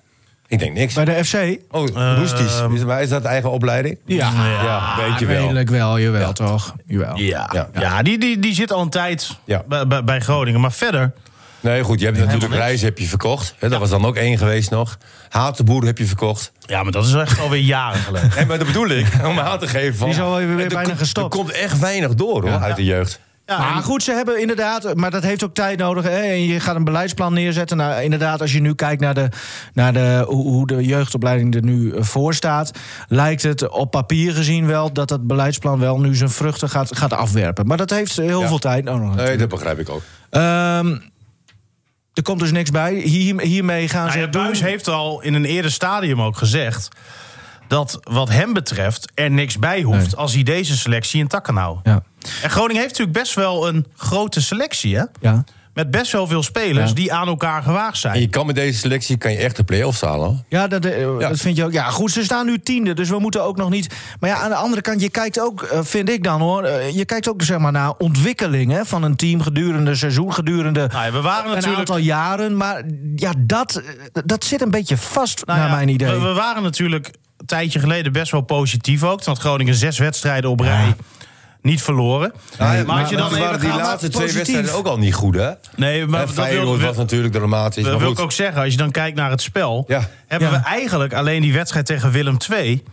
Speaker 3: Ik denk niks.
Speaker 2: Bij de FC?
Speaker 3: Oh, roestisch. Is, maar is dat eigen opleiding?
Speaker 2: Ja,
Speaker 3: Ja, weet je wel.
Speaker 2: redelijk wel, jawel toch? Jawel.
Speaker 4: Ja,
Speaker 3: Ja.
Speaker 4: ja. die, die, die zit al een tijd
Speaker 3: Ja.
Speaker 4: bij, bij, bij Groningen. Maar verder
Speaker 3: Nee, goed, je hebt natuurlijk Reis heb je verkocht. Hè, dat was dan ook één geweest nog. Haat de boer heb je verkocht.
Speaker 4: Ja, maar dat is echt alweer jaren geleden.
Speaker 3: Nee, maar dat bedoel ik, om aan te geven van...
Speaker 2: Die is alweer weer
Speaker 3: er
Speaker 2: bijna
Speaker 3: komt-
Speaker 2: gestopt.
Speaker 3: Er komt echt weinig door, hoor, uit de jeugd.
Speaker 2: maar goed, ze hebben inderdaad, maar dat heeft ook tijd nodig. Hè? En je gaat een beleidsplan neerzetten. Nou, inderdaad, als je nu kijkt naar, de, naar de, hoe hoe de jeugdopleiding er nu eh, voor staat, lijkt het op papier gezien wel dat dat beleidsplan wel nu zijn vruchten gaat, gaat afwerpen. Maar dat heeft heel
Speaker 3: Ja.
Speaker 2: veel tijd nodig.
Speaker 3: Nee, dat begrijp ik ook.
Speaker 2: Ehm, er komt dus niks bij. Hier, hiermee gaan
Speaker 4: Nou
Speaker 2: ze
Speaker 4: ja,
Speaker 2: het doen.
Speaker 4: Buis heeft al in een eerder stadium ook gezegd dat wat hem betreft er niks bij hoeft
Speaker 2: Nee.
Speaker 4: als hij deze selectie intact kan houden.
Speaker 2: Ja.
Speaker 4: En Groningen heeft natuurlijk best wel een grote selectie, hè?
Speaker 2: Ja.
Speaker 4: Met best wel veel spelers
Speaker 2: Ja.
Speaker 4: die aan elkaar gewaagd
Speaker 3: En
Speaker 4: zijn.
Speaker 3: je kan met deze selectie kan je echt de play-offs halen, hoor.
Speaker 2: Ja, dat, eh, dat vind je ook. Ja, goed, ze staan nu tiende, dus we moeten ook nog niet. Maar ja, aan de andere kant, je kijkt ook, eh, vind ik dan hoor, eh, je kijkt ook zeg maar naar ontwikkeling hè, van een team gedurende een seizoen, gedurende
Speaker 4: Nou ja, we waren
Speaker 2: een
Speaker 4: natuurlijk-
Speaker 2: aantal jaren. Maar ja, dat, eh, dat zit een beetje vast
Speaker 4: Nou
Speaker 2: naar
Speaker 4: ja,
Speaker 2: mijn idee.
Speaker 4: We, we waren natuurlijk een tijdje geleden best wel positief ook. Toen had Groningen zes wedstrijden op rij niet verloren. maar als je dan
Speaker 3: Toen
Speaker 4: even
Speaker 3: waren die
Speaker 4: gaat...
Speaker 3: laatste twee
Speaker 2: positief.
Speaker 3: wedstrijden ook al niet goed, hè?
Speaker 4: Nee, maar
Speaker 3: Maar
Speaker 4: dat wil,
Speaker 3: Feyenoord was natuurlijk dramatisch.
Speaker 4: Dat
Speaker 3: maar
Speaker 4: wil
Speaker 3: goed.
Speaker 4: ik ook zeggen, als je dan kijkt naar het spel...
Speaker 3: Ja.
Speaker 4: hebben
Speaker 2: Ja.
Speaker 4: we eigenlijk alleen die wedstrijd tegen Willem II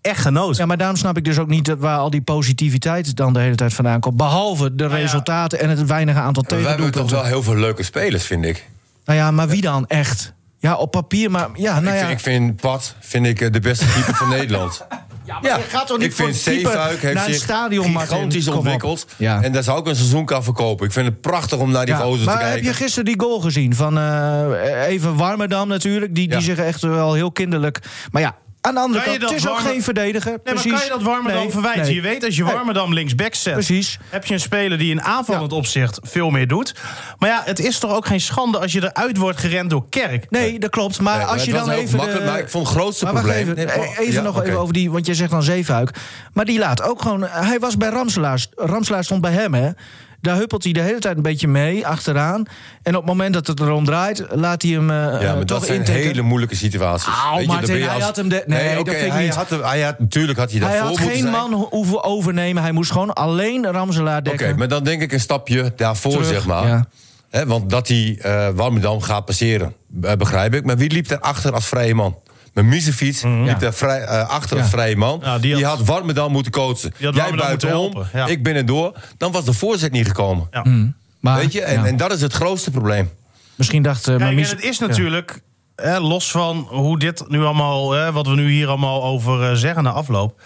Speaker 4: echt genoten.
Speaker 2: Ja, maar daarom snap ik dus ook niet dat waar al die positiviteit dan de hele tijd vandaan komt. Behalve de
Speaker 4: Nou ja.
Speaker 2: resultaten en het weinige aantal
Speaker 3: We hebben toch
Speaker 2: tegendoelpunten.
Speaker 3: wel heel veel leuke spelers, vind ik.
Speaker 2: Nou ja, maar wie dan echt? Ja, op papier, maar ja, nou
Speaker 3: ik,
Speaker 2: ja.
Speaker 3: vind, ik vind Pat vind ik, eh, de beste keeper van Nederland. Ja,
Speaker 2: je gaat toch niet
Speaker 3: ik
Speaker 2: voor
Speaker 3: vind
Speaker 2: een keeper
Speaker 3: Zeefuik
Speaker 2: naar
Speaker 3: heeft
Speaker 2: een
Speaker 3: zich
Speaker 2: stadion, Martin?
Speaker 3: gigantisch
Speaker 2: Kom op.
Speaker 3: ontwikkeld.
Speaker 2: Ja.
Speaker 3: En daar zou ik een seizoen aan verkopen. Ik vind het prachtig om naar die
Speaker 2: Ja,
Speaker 3: gozer te
Speaker 2: maar
Speaker 3: kijken.
Speaker 2: heb je gisteren die goal gezien van eh, even Warmerdam natuurlijk? Die, die
Speaker 3: Ja.
Speaker 2: zich echt wel heel kinderlijk. Maar ja, aan de andere
Speaker 4: Kan je
Speaker 2: kant, het
Speaker 4: dat
Speaker 2: is ook
Speaker 4: Warmer-
Speaker 2: geen verdediger.
Speaker 4: Nee,
Speaker 2: precies.
Speaker 4: maar kan je dat Warmerdam
Speaker 2: Nee,
Speaker 4: verwijten?
Speaker 2: nee.
Speaker 4: Je weet, als je
Speaker 2: Nee,
Speaker 4: Warmerdam linksback zet...
Speaker 2: Precies.
Speaker 4: heb je een speler die in aanvallend opzicht veel meer doet. Maar ja, het is toch ook geen schande als je eruit wordt gerend door Kerk.
Speaker 2: Nee, dat klopt. Maar
Speaker 3: Nee, maar
Speaker 2: als je
Speaker 3: het was
Speaker 2: dan
Speaker 3: heel
Speaker 2: even.
Speaker 3: makkelijk,
Speaker 2: de-
Speaker 3: maar ik vond het grootste
Speaker 2: maar wacht
Speaker 3: probleem-
Speaker 2: Even,
Speaker 3: Nee, oh,
Speaker 2: e- even
Speaker 3: ja,
Speaker 2: nog
Speaker 3: oké.
Speaker 2: even over die, want jij zegt dan Zeefuik. Maar die laat ook gewoon. Hij was bij Ramselaar. Ramselaar stond bij hem, hè? Daar huppelt hij de hele tijd een beetje mee achteraan. En op het moment dat het erom draait, laat hij hem eh, eh,
Speaker 3: Ja, maar
Speaker 2: toch
Speaker 3: dat zijn
Speaker 2: intikken.
Speaker 3: hele moeilijke situaties.
Speaker 2: Au,
Speaker 3: Weet je, dan
Speaker 2: Martin,
Speaker 3: ben je
Speaker 2: hij
Speaker 3: als-
Speaker 2: had hem de- nee, dat
Speaker 3: oké,
Speaker 2: vind ik
Speaker 3: hij
Speaker 2: niet.
Speaker 3: Had hem, hij had, natuurlijk had hij
Speaker 2: Hij
Speaker 3: daarvoor
Speaker 2: had
Speaker 3: moeten
Speaker 2: geen
Speaker 3: zijn.
Speaker 2: man ho- hoeven overnemen. Hij moest gewoon alleen Ramselaar
Speaker 3: Oké,
Speaker 2: dekken.
Speaker 3: maar dan denk ik een stapje daarvoor,
Speaker 2: Terug,
Speaker 3: zeg maar.
Speaker 2: ja.
Speaker 3: Hè, want dat hij eh Warmerdam gaat passeren, eh, begrijp ik. Maar wie liep daarachter als vrije man? Mijn Misefiets liep daar vrij, eh, achter als vrije man.
Speaker 4: Mhm. Ja, die
Speaker 3: die,
Speaker 4: had-
Speaker 3: had, Warmerdam moeten coachen.
Speaker 4: had
Speaker 3: Jij
Speaker 4: Warmerdam moeten
Speaker 3: buitenom,
Speaker 4: helpen, ja.
Speaker 3: ik binnendoor. Dan was de voorzet niet gekomen.
Speaker 4: Ja.
Speaker 2: Maar,
Speaker 3: Weet je? En,
Speaker 2: ja,
Speaker 3: en dat is het grootste probleem.
Speaker 2: misschien dacht eh, maar
Speaker 4: Kijk, en
Speaker 2: mis-
Speaker 4: het is natuurlijk, hè, los van hoe dit nu allemaal, hè, wat we nu hier allemaal over eh, zeggen na afloop.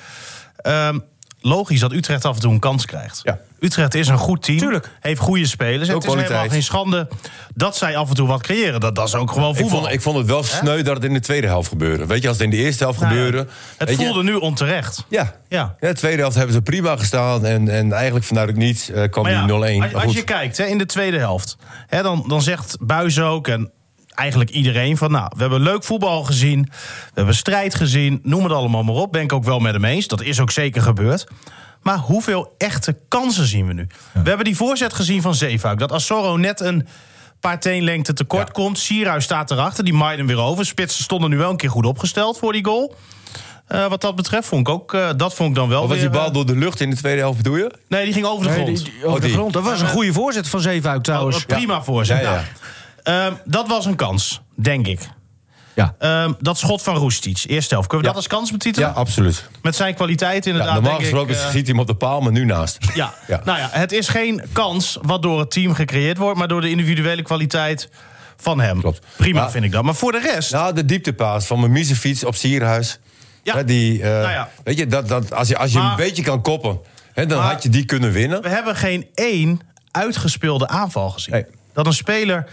Speaker 4: ehm, logisch dat Utrecht af en toe een kans krijgt.
Speaker 3: Ja.
Speaker 4: Utrecht is een goed team,
Speaker 2: Tuurlijk.
Speaker 4: heeft goede spelers. En
Speaker 3: Ook
Speaker 4: het is helemaal
Speaker 3: kwaliteit.
Speaker 4: geen schande dat zij af en toe wat creëren. Dat, dat is ook gewoon
Speaker 3: Ik
Speaker 4: voetbal.
Speaker 3: vond, ik vond het wel sneu dat het in de tweede helft gebeurde. Weet je, als het in de eerste helft
Speaker 4: Nou ja,
Speaker 3: gebeurde...
Speaker 4: het
Speaker 3: weet je-
Speaker 4: voelde nu onterecht.
Speaker 3: Ja.
Speaker 4: Ja.
Speaker 3: Ja, de tweede helft hebben ze prima gestaan. En, en eigenlijk vanuit het niets eh, kwam
Speaker 4: Maar ja,
Speaker 3: die 0-1.
Speaker 4: als,
Speaker 3: Maar
Speaker 4: als
Speaker 3: goed.
Speaker 4: je kijkt hè, in de tweede helft, hè, dan, dan zegt Buis ook en eigenlijk iedereen van... nou, we hebben leuk voetbal gezien, we hebben strijd gezien, noem het allemaal maar op. Ben ik ook wel met hem eens, dat is ook zeker gebeurd. Maar hoeveel echte kansen zien we nu? We hebben die voorzet gezien van Zeefuik. Dat Assoro net een paar teenlengte tekort komt. Sierhuis staat erachter, die Maiden weer over. Spitsen stonden nu wel een keer goed opgesteld voor die goal. Eh, wat dat betreft vond ik ook, eh, dat vond ik dan wel
Speaker 3: Of was
Speaker 4: weer...
Speaker 3: die bal
Speaker 4: eh,
Speaker 3: door de lucht in de tweede helft, bedoel je?
Speaker 4: nee, die ging over de
Speaker 2: Nee,
Speaker 4: grond.
Speaker 2: die- die- over
Speaker 3: Oh,
Speaker 2: de
Speaker 3: die.
Speaker 2: grond. Dat was een goede voorzet van Zeefuik trouwens.
Speaker 4: Oh, prima voorzet.
Speaker 3: Ja, ja.
Speaker 4: Nou, ehm, dat was een kans, denk ik.
Speaker 2: Ja.
Speaker 4: Ehm, dat schot van Roestic, eerste helft. Kunnen we dat als kans
Speaker 3: Ja,
Speaker 4: betitelen?
Speaker 3: absoluut.
Speaker 4: Met zijn kwaliteit
Speaker 3: Ja,
Speaker 4: inderdaad.
Speaker 3: normaal
Speaker 4: denk ik,
Speaker 3: gesproken
Speaker 4: eh,
Speaker 3: schiet hij hem op de paal, maar nu naast.
Speaker 4: ja.
Speaker 3: Ja.
Speaker 4: nou ja, het is geen kans wat door het team gecreëerd wordt... maar door de individuele kwaliteit van hem.
Speaker 3: Klopt.
Speaker 4: Prima
Speaker 3: Maar-
Speaker 4: vind ik dat. Maar voor de rest...
Speaker 3: Nou, de dieptepaas van mijn miezenfiets op Sierhuis.
Speaker 4: Ja.
Speaker 3: Hè, die, eh,
Speaker 4: Nou ja.
Speaker 3: Weet je, dat, dat, als je, als je
Speaker 4: Maar-
Speaker 3: een beetje kan koppen, hè, dan
Speaker 4: Maar-
Speaker 3: had je die kunnen winnen.
Speaker 4: We hebben geen één uitgespeelde aanval gezien.
Speaker 3: Nee.
Speaker 4: Dat een speler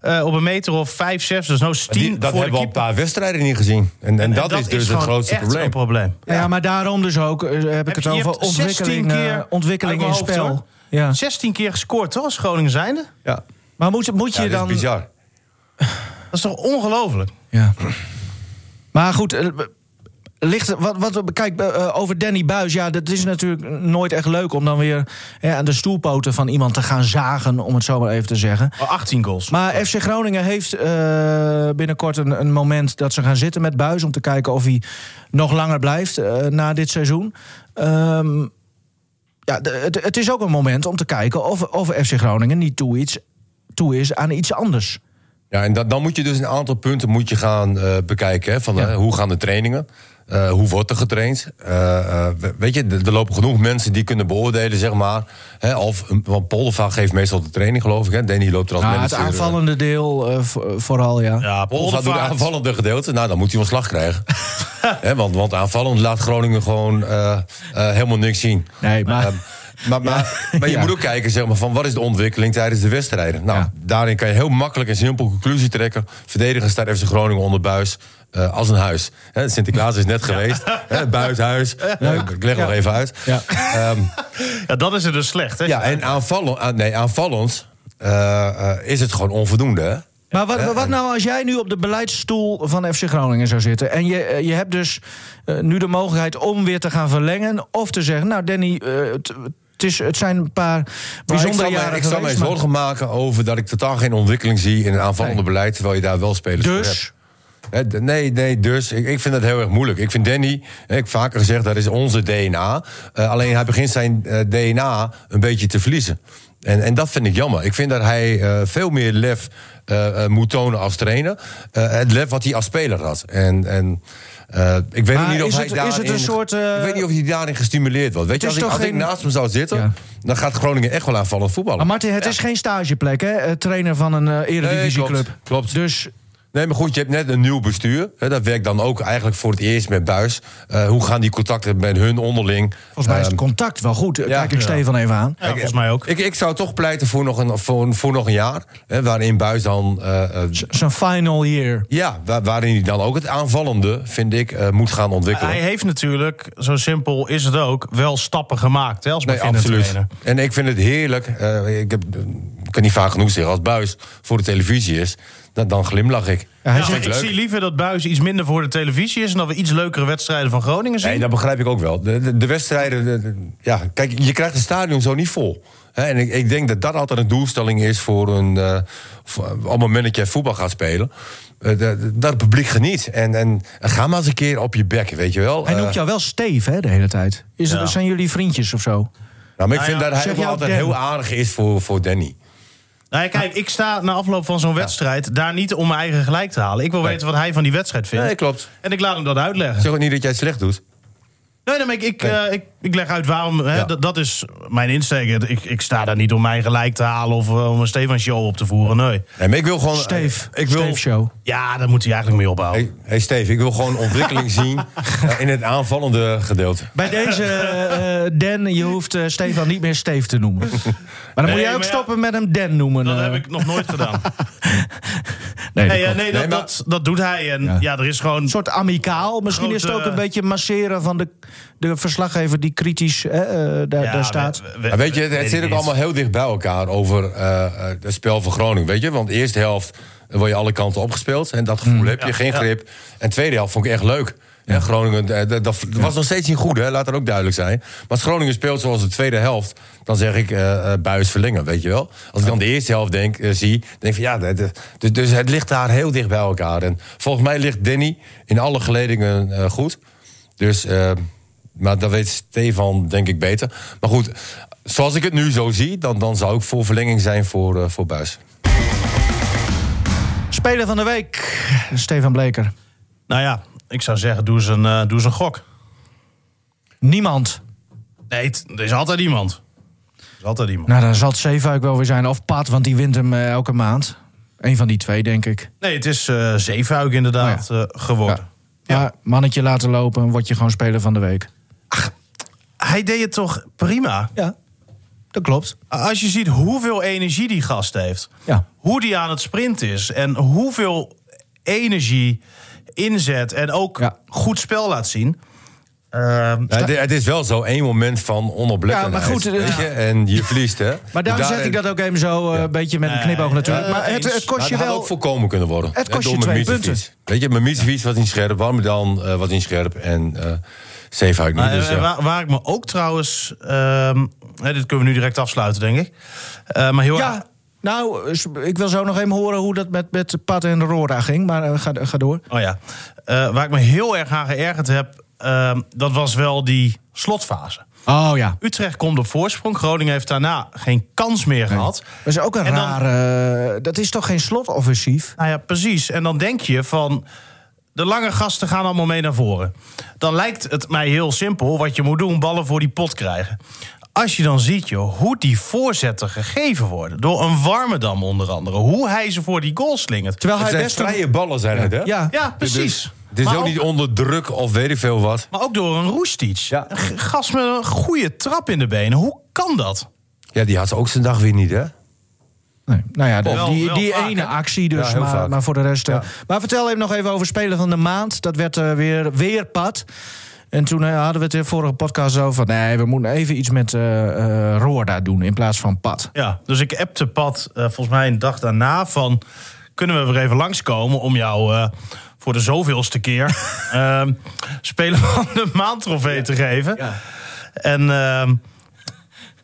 Speaker 4: eh, op een meter of vijf, zes, dus nou
Speaker 3: Die-
Speaker 4: tien
Speaker 3: dat hebben
Speaker 4: voor de
Speaker 3: we al een
Speaker 4: keeper...
Speaker 3: paar wedstrijden niet gezien. En, en, dat, is dus het
Speaker 4: gewoon
Speaker 3: grootste
Speaker 4: echt
Speaker 3: probleem.
Speaker 4: een probleem.
Speaker 2: Ja, maar daarom dus ook eh, heb ik
Speaker 4: Heb
Speaker 2: het
Speaker 4: je- je
Speaker 2: over
Speaker 4: hebt 16
Speaker 2: ontwikkeling,
Speaker 4: keer
Speaker 2: eh, ontwikkeling in
Speaker 4: uit mijn hoofd,
Speaker 2: spel.
Speaker 4: hoor.
Speaker 2: Ja.
Speaker 4: 16 keer gescoord, toch? Als Groningen zijnde?
Speaker 3: Ja.
Speaker 2: Maar moet, moet je
Speaker 3: Ja, dat
Speaker 2: dan...
Speaker 3: is bizar.
Speaker 4: Dat is toch ongelooflijk?
Speaker 2: Ja. Maar goed, eh, ligt, wat, wat, kijk, eh, over Danny Buis. Ja, dat is natuurlijk nooit echt leuk om dan weer eh, aan de stoelpoten van iemand te gaan zagen, om het zo maar even te zeggen.
Speaker 4: Oh, 18 goals.
Speaker 2: Maar FC Groningen heeft eh, binnenkort een, een moment dat ze gaan zitten met Buis om te kijken of hij nog langer blijft eh, na dit seizoen. Ehm, ja, de- het, het is ook een moment om te kijken of, of FC Groningen niet toe iets toe is aan iets anders.
Speaker 3: Ja, en dan, dan moet je dus een aantal punten moet je gaan eh, bekijken. Hè, van, eh, hoe gaan de trainingen? Eh, hoe wordt er getraind? Eh, eh, we- weet je, er er lopen genoeg mensen die kunnen beoordelen, zeg maar. Hè, of, want Poldervaart geeft meestal de training, geloof ik. Hè. Danny loopt er als
Speaker 2: Nou, het
Speaker 3: manager. eh,
Speaker 2: aanvallende deel eh, vo- vooral, ja.
Speaker 4: Ja,
Speaker 3: Poldervaart doet het
Speaker 4: Poldervaart.
Speaker 3: aanvallende gedeelte. Nou, dan moet hij ontslag krijgen. Hè, want, want aanvallend laat Groningen gewoon eh, eh, helemaal niks zien.
Speaker 2: Nee, maar-
Speaker 3: Ehm, maar, maar, maar je
Speaker 2: Ja.
Speaker 3: moet ook kijken zeg maar, van wat is de ontwikkeling tijdens de wedstrijden. Nou,
Speaker 2: Ja.
Speaker 3: daarin kan je heel makkelijk en simpel conclusie trekken. Verdedigen staat FC Groningen onder buis. eh, als een huis. Hè, Sinterklaas is net geweest. Hè, buishuis. Nou, ik- ik leg nog even uit.
Speaker 2: Ja.
Speaker 3: Ehm,
Speaker 4: Ja, dat is het dus slecht, hè?
Speaker 3: ja, en aanvallen, aan- nee, aanvallend eh, eh, is het gewoon onvoldoende. Hè?
Speaker 2: Maar wat, wat nou als jij nu op de beleidsstoel van FC Groningen zou zitten... en je, eh, je hebt dus eh, nu de mogelijkheid om weer te gaan verlengen... of te zeggen, nou Danny, eh, het, het is, het zijn een paar
Speaker 3: Maar Nou, ik
Speaker 2: bijzondere
Speaker 3: zal me-
Speaker 2: jaren
Speaker 3: Ik zal me
Speaker 2: geweest,
Speaker 3: eens
Speaker 2: maar-
Speaker 3: zorgen maken over dat ik totaal geen ontwikkeling zie in het aanvallende
Speaker 2: Nee.
Speaker 3: beleid, terwijl je daar wel spelers voor
Speaker 2: Dus?
Speaker 3: hebt. Hè, d- Nee, nee, dus. Ik, ik vind dat heel erg moeilijk. Ik vind Danny, hè, ik heb vaker gezegd, dat is onze DNA. Eh, alleen hij begint zijn eh, DNA een beetje te verliezen. En, en dat vind ik jammer. Ik vind dat hij eh, veel meer lef eh, eh, moet tonen als trainer. Eh, het lef wat hij als speler had. En, en eh, ik weet
Speaker 2: Maar
Speaker 3: ook niet of
Speaker 2: is
Speaker 3: hij
Speaker 2: het- is
Speaker 3: daarin...
Speaker 2: het een soort, eh,
Speaker 3: ik weet niet of hij daarin gestimuleerd wordt. Weet je,
Speaker 2: is
Speaker 3: als, ik,
Speaker 2: toch
Speaker 3: als ik
Speaker 2: geen-
Speaker 3: naast hem zou zitten,
Speaker 2: Ja.
Speaker 3: dan gaat Groningen echt wel aanvallend voetballen.
Speaker 2: Maar Martin, het is geen stageplek, hè? eh, Trainer van een eh, eredivisieclub.
Speaker 3: Nee, klopt, klopt.
Speaker 2: Dus
Speaker 3: Nee, maar goed, je hebt net een nieuw bestuur. Hè, dat werkt dan ook eigenlijk voor het eerst met Buis. Eh, hoe gaan die contacten met hun onderling?
Speaker 2: volgens mij is het
Speaker 3: Ehm,
Speaker 2: contact wel goed. Eh,
Speaker 3: ja.
Speaker 2: Kijk ik Stefan even aan.
Speaker 4: Ja, volgens mij ook.
Speaker 3: ik, ik zou toch pleiten voor nog een, voor, voor nog een jaar. Hè, waarin Buis dan. eh, eh,
Speaker 2: Zijn final year.
Speaker 3: ja, wa- waarin hij dan ook het aanvallende, vind ik, eh, moet gaan ontwikkelen.
Speaker 4: Hij heeft natuurlijk, zo simpel is het ook, wel stappen gemaakt hè, als
Speaker 3: Nee,
Speaker 4: beginnend
Speaker 3: absoluut.
Speaker 4: trainer.
Speaker 3: En ik vind het heerlijk. eh, ik, heb, ik kan niet vaak genoeg zeggen. Als Buis voor de televisie is, dan, dan glimlach ik.
Speaker 2: Ja, hij
Speaker 4: Ja,
Speaker 2: zegt,
Speaker 4: ik zie liever dat Buis iets minder voor de televisie is... en dat we iets leukere wedstrijden van Groningen zien.
Speaker 3: Nee, dat begrijp ik ook wel. De, de, de wedstrijden. de- de- ja, kijk, je krijgt het stadion zo niet vol. Hè, en ik, ik denk dat dat altijd een doelstelling is voor een. eh, voor- op het moment dat jij voetbal gaat spelen. eh, de- de- dat het publiek geniet. En, en, en ga maar eens een keer op je bek, weet je wel.
Speaker 2: hij
Speaker 3: Eh,
Speaker 2: noemt jou wel Steve, hè, de hele tijd. Is het,
Speaker 4: Ja.
Speaker 2: Zijn jullie vriendjes of zo?
Speaker 3: nou, maar ik
Speaker 4: Nou
Speaker 3: vind
Speaker 4: ja,
Speaker 3: dat hij
Speaker 2: zeg
Speaker 3: wel
Speaker 2: jou
Speaker 3: altijd
Speaker 2: Dan.
Speaker 3: heel aardig is voor, voor Danny.
Speaker 4: Nou ja, kijk, ik sta na afloop van zo'n wedstrijd daar niet om mijn eigen gelijk te halen. Ik wil weten wat hij van die wedstrijd vindt.
Speaker 3: Nee, klopt.
Speaker 4: En ik laat hem dat uitleggen.
Speaker 3: Zeg ook niet dat jij het slecht doet.
Speaker 4: Nee, nee, maar ik, ik,
Speaker 3: Nee.
Speaker 4: eh, ik, ik leg uit waarom. Hè,
Speaker 3: Ja.
Speaker 4: dat, dat is mijn insteek. Ik, ik sta daar niet om mijn gelijk te halen of eh, om een Stefan Show op te voeren. Nee.
Speaker 3: Nee, maar ik wil gewoon.
Speaker 2: Steve,
Speaker 3: Eh, ik wil,
Speaker 2: Steve Show.
Speaker 4: Ja, daar moet hij eigenlijk mee ophouden.
Speaker 3: Hey, hey Steve, ik wil gewoon ontwikkeling zien eh, in het aanvallende gedeelte.
Speaker 2: Bij deze, eh, Dan, je hoeft eh, Stefan niet meer Steve te noemen. Maar dan moet
Speaker 4: Nee,
Speaker 2: jij ook
Speaker 4: maar ja,
Speaker 2: stoppen met hem Dan noemen.
Speaker 4: Dat
Speaker 2: eh.
Speaker 4: heb ik nog nooit gedaan.
Speaker 2: Nee, dat
Speaker 4: Nee, ja,
Speaker 2: klopt.
Speaker 4: nee, dat,
Speaker 3: Nee, maar-
Speaker 4: dat, dat doet hij. En ja, er is gewoon.
Speaker 2: Een soort amicaal. Misschien is het
Speaker 4: Grote-
Speaker 2: ook een beetje masseren van de, de verslaggever die kritisch hè, eh, daar,
Speaker 4: ja,
Speaker 2: daar staat.
Speaker 4: we- we-
Speaker 3: Ja, weet je, het, het
Speaker 4: weet ik
Speaker 3: zit ook
Speaker 4: niet.
Speaker 3: allemaal heel dicht bij elkaar over eh, eh, het spel van Groningen. Weet je, want de eerste helft word je alle kanten opgespeeld. En dat
Speaker 4: Mm.
Speaker 3: gevoel heb je, geen grip. En de tweede helft vond ik echt leuk. Ja. Groningen, eh, dat, dat was nog steeds niet goed, hè? laat dat ook duidelijk zijn. Maar als Groningen speelt zoals de tweede helft, dan zeg ik eh eh, buis verlengen, weet je wel. Als ik dan de eerste helft denk, eh, zie, denk ik van ja, de- de- dus, dus het ligt daar heel dicht bij elkaar. En volgens mij ligt Danny in alle geledingen eh, goed. Dus, eh, maar dat weet Stefan denk ik beter. Maar goed, zoals ik het nu zo zie, dan, dan zou ik voor verlenging zijn voor, eh, voor Buis.
Speaker 2: Speler van de week, Stefan Bleker.
Speaker 4: Nou ja, ik zou zeggen, doe eens een, eh, doe eens een gok.
Speaker 2: Niemand.
Speaker 4: Nee, het- er is altijd iemand. Er is altijd iemand.
Speaker 2: Nou, dan zal het Zeefuik wel weer zijn. Of Pat, want die wint hem eh, elke maand. Eén van die twee, denk ik.
Speaker 4: Nee, het is eh Zeefuik inderdaad
Speaker 3: Oh
Speaker 4: eh, geworden.
Speaker 2: Maar mannetje laten lopen, word je gewoon speler van de week.
Speaker 4: Hij deed het toch prima?
Speaker 2: Ja, dat klopt.
Speaker 4: Als je ziet hoeveel energie die gast heeft.
Speaker 2: Ja.
Speaker 4: Hoe die aan het sprinten is. En hoeveel energie inzet. En ook
Speaker 2: Ja.
Speaker 4: goed spel laat zien. Ehm,
Speaker 3: Nou, het, het is wel zo één moment van onoplettendheid.
Speaker 2: Ja, maar goed,
Speaker 3: weet
Speaker 2: ja.
Speaker 3: je? En je verliest, hè?
Speaker 2: Maar daarom
Speaker 3: Dus
Speaker 2: zeg ik dat ook even zo, eh, een beetje met een knipoog natuurlijk.
Speaker 4: eh,
Speaker 2: maar het,
Speaker 4: eens.
Speaker 2: het kost
Speaker 3: Maar
Speaker 2: je
Speaker 3: het had
Speaker 2: wel...
Speaker 3: ook voorkomen kunnen worden.
Speaker 2: Het kost
Speaker 3: Door
Speaker 2: je
Speaker 3: mijn
Speaker 2: twee
Speaker 3: miezenfiets. Weet je, mijn miezenfiets was niet scherp. Waarom dan eh, was niet scherp? En eh Zeefuik niet.
Speaker 4: Maar,
Speaker 3: Dus,
Speaker 4: eh,
Speaker 3: ja.
Speaker 4: waar, waar ik me ook trouwens. ehm, hè, dit kunnen we nu direct afsluiten, denk ik. Eh, maar heel
Speaker 2: Ja, nou, s- ik wil zo nog even horen hoe dat met, met Pat en Rora ging. Maar eh, ga, ga door.
Speaker 4: Oh ja. Eh, waar ik me heel erg aan geërgerd heb, ehm, dat was wel die slotfase.
Speaker 2: Oh ja.
Speaker 4: Utrecht komt op voorsprong. Groningen heeft daarna geen kans meer gehad.
Speaker 2: Dat is ook een
Speaker 4: En dan-
Speaker 2: rare... eh, Dat is toch geen slotoffensief?
Speaker 4: Nou ja, precies. En dan denk je van. De lange gasten gaan allemaal mee naar voren. Dan lijkt het mij heel simpel wat je moet doen: ballen voor die pot krijgen. Als je dan ziet joh, hoe die voorzetten gegeven worden. Door een Warmerdam onder andere. Hoe hij ze voor die goal slingert.
Speaker 2: Terwijl
Speaker 3: Het
Speaker 2: hij
Speaker 3: zijn
Speaker 2: best... een-
Speaker 3: vrije ballen zijn het, hè?
Speaker 2: Ja.
Speaker 4: Ja, precies.
Speaker 3: Dus het is
Speaker 4: Maar
Speaker 3: ook niet onder druk of weet ik veel wat.
Speaker 4: Maar ook door een Roestic.
Speaker 3: Ja.
Speaker 4: Een g- gast met een goede trap in de benen. Hoe kan dat?
Speaker 3: Ja, die had ook zijn dag weer niet, hè?
Speaker 2: Nee, nou ja, de-
Speaker 4: Wel-
Speaker 2: die,
Speaker 4: wel
Speaker 2: die
Speaker 4: vaak,
Speaker 2: ene
Speaker 4: hè?
Speaker 2: actie dus,
Speaker 3: Ja, heel
Speaker 2: maar,
Speaker 3: vaak.
Speaker 2: maar voor de rest... eh,
Speaker 3: Ja.
Speaker 2: Maar vertel even nog even over Speler van de Maand. Dat werd eh, weer, weer pad. En toen eh, hadden we het in de vorige podcast over... van, nee, we moeten even iets met eh, eh, Roorda doen in plaats van pad.
Speaker 4: Ja, dus ik appte Pat eh, volgens mij een dag daarna van... kunnen we weer even langskomen om jou eh, voor de zoveelste keer... ehm Speler van de Maand trofee te geven. En ehm,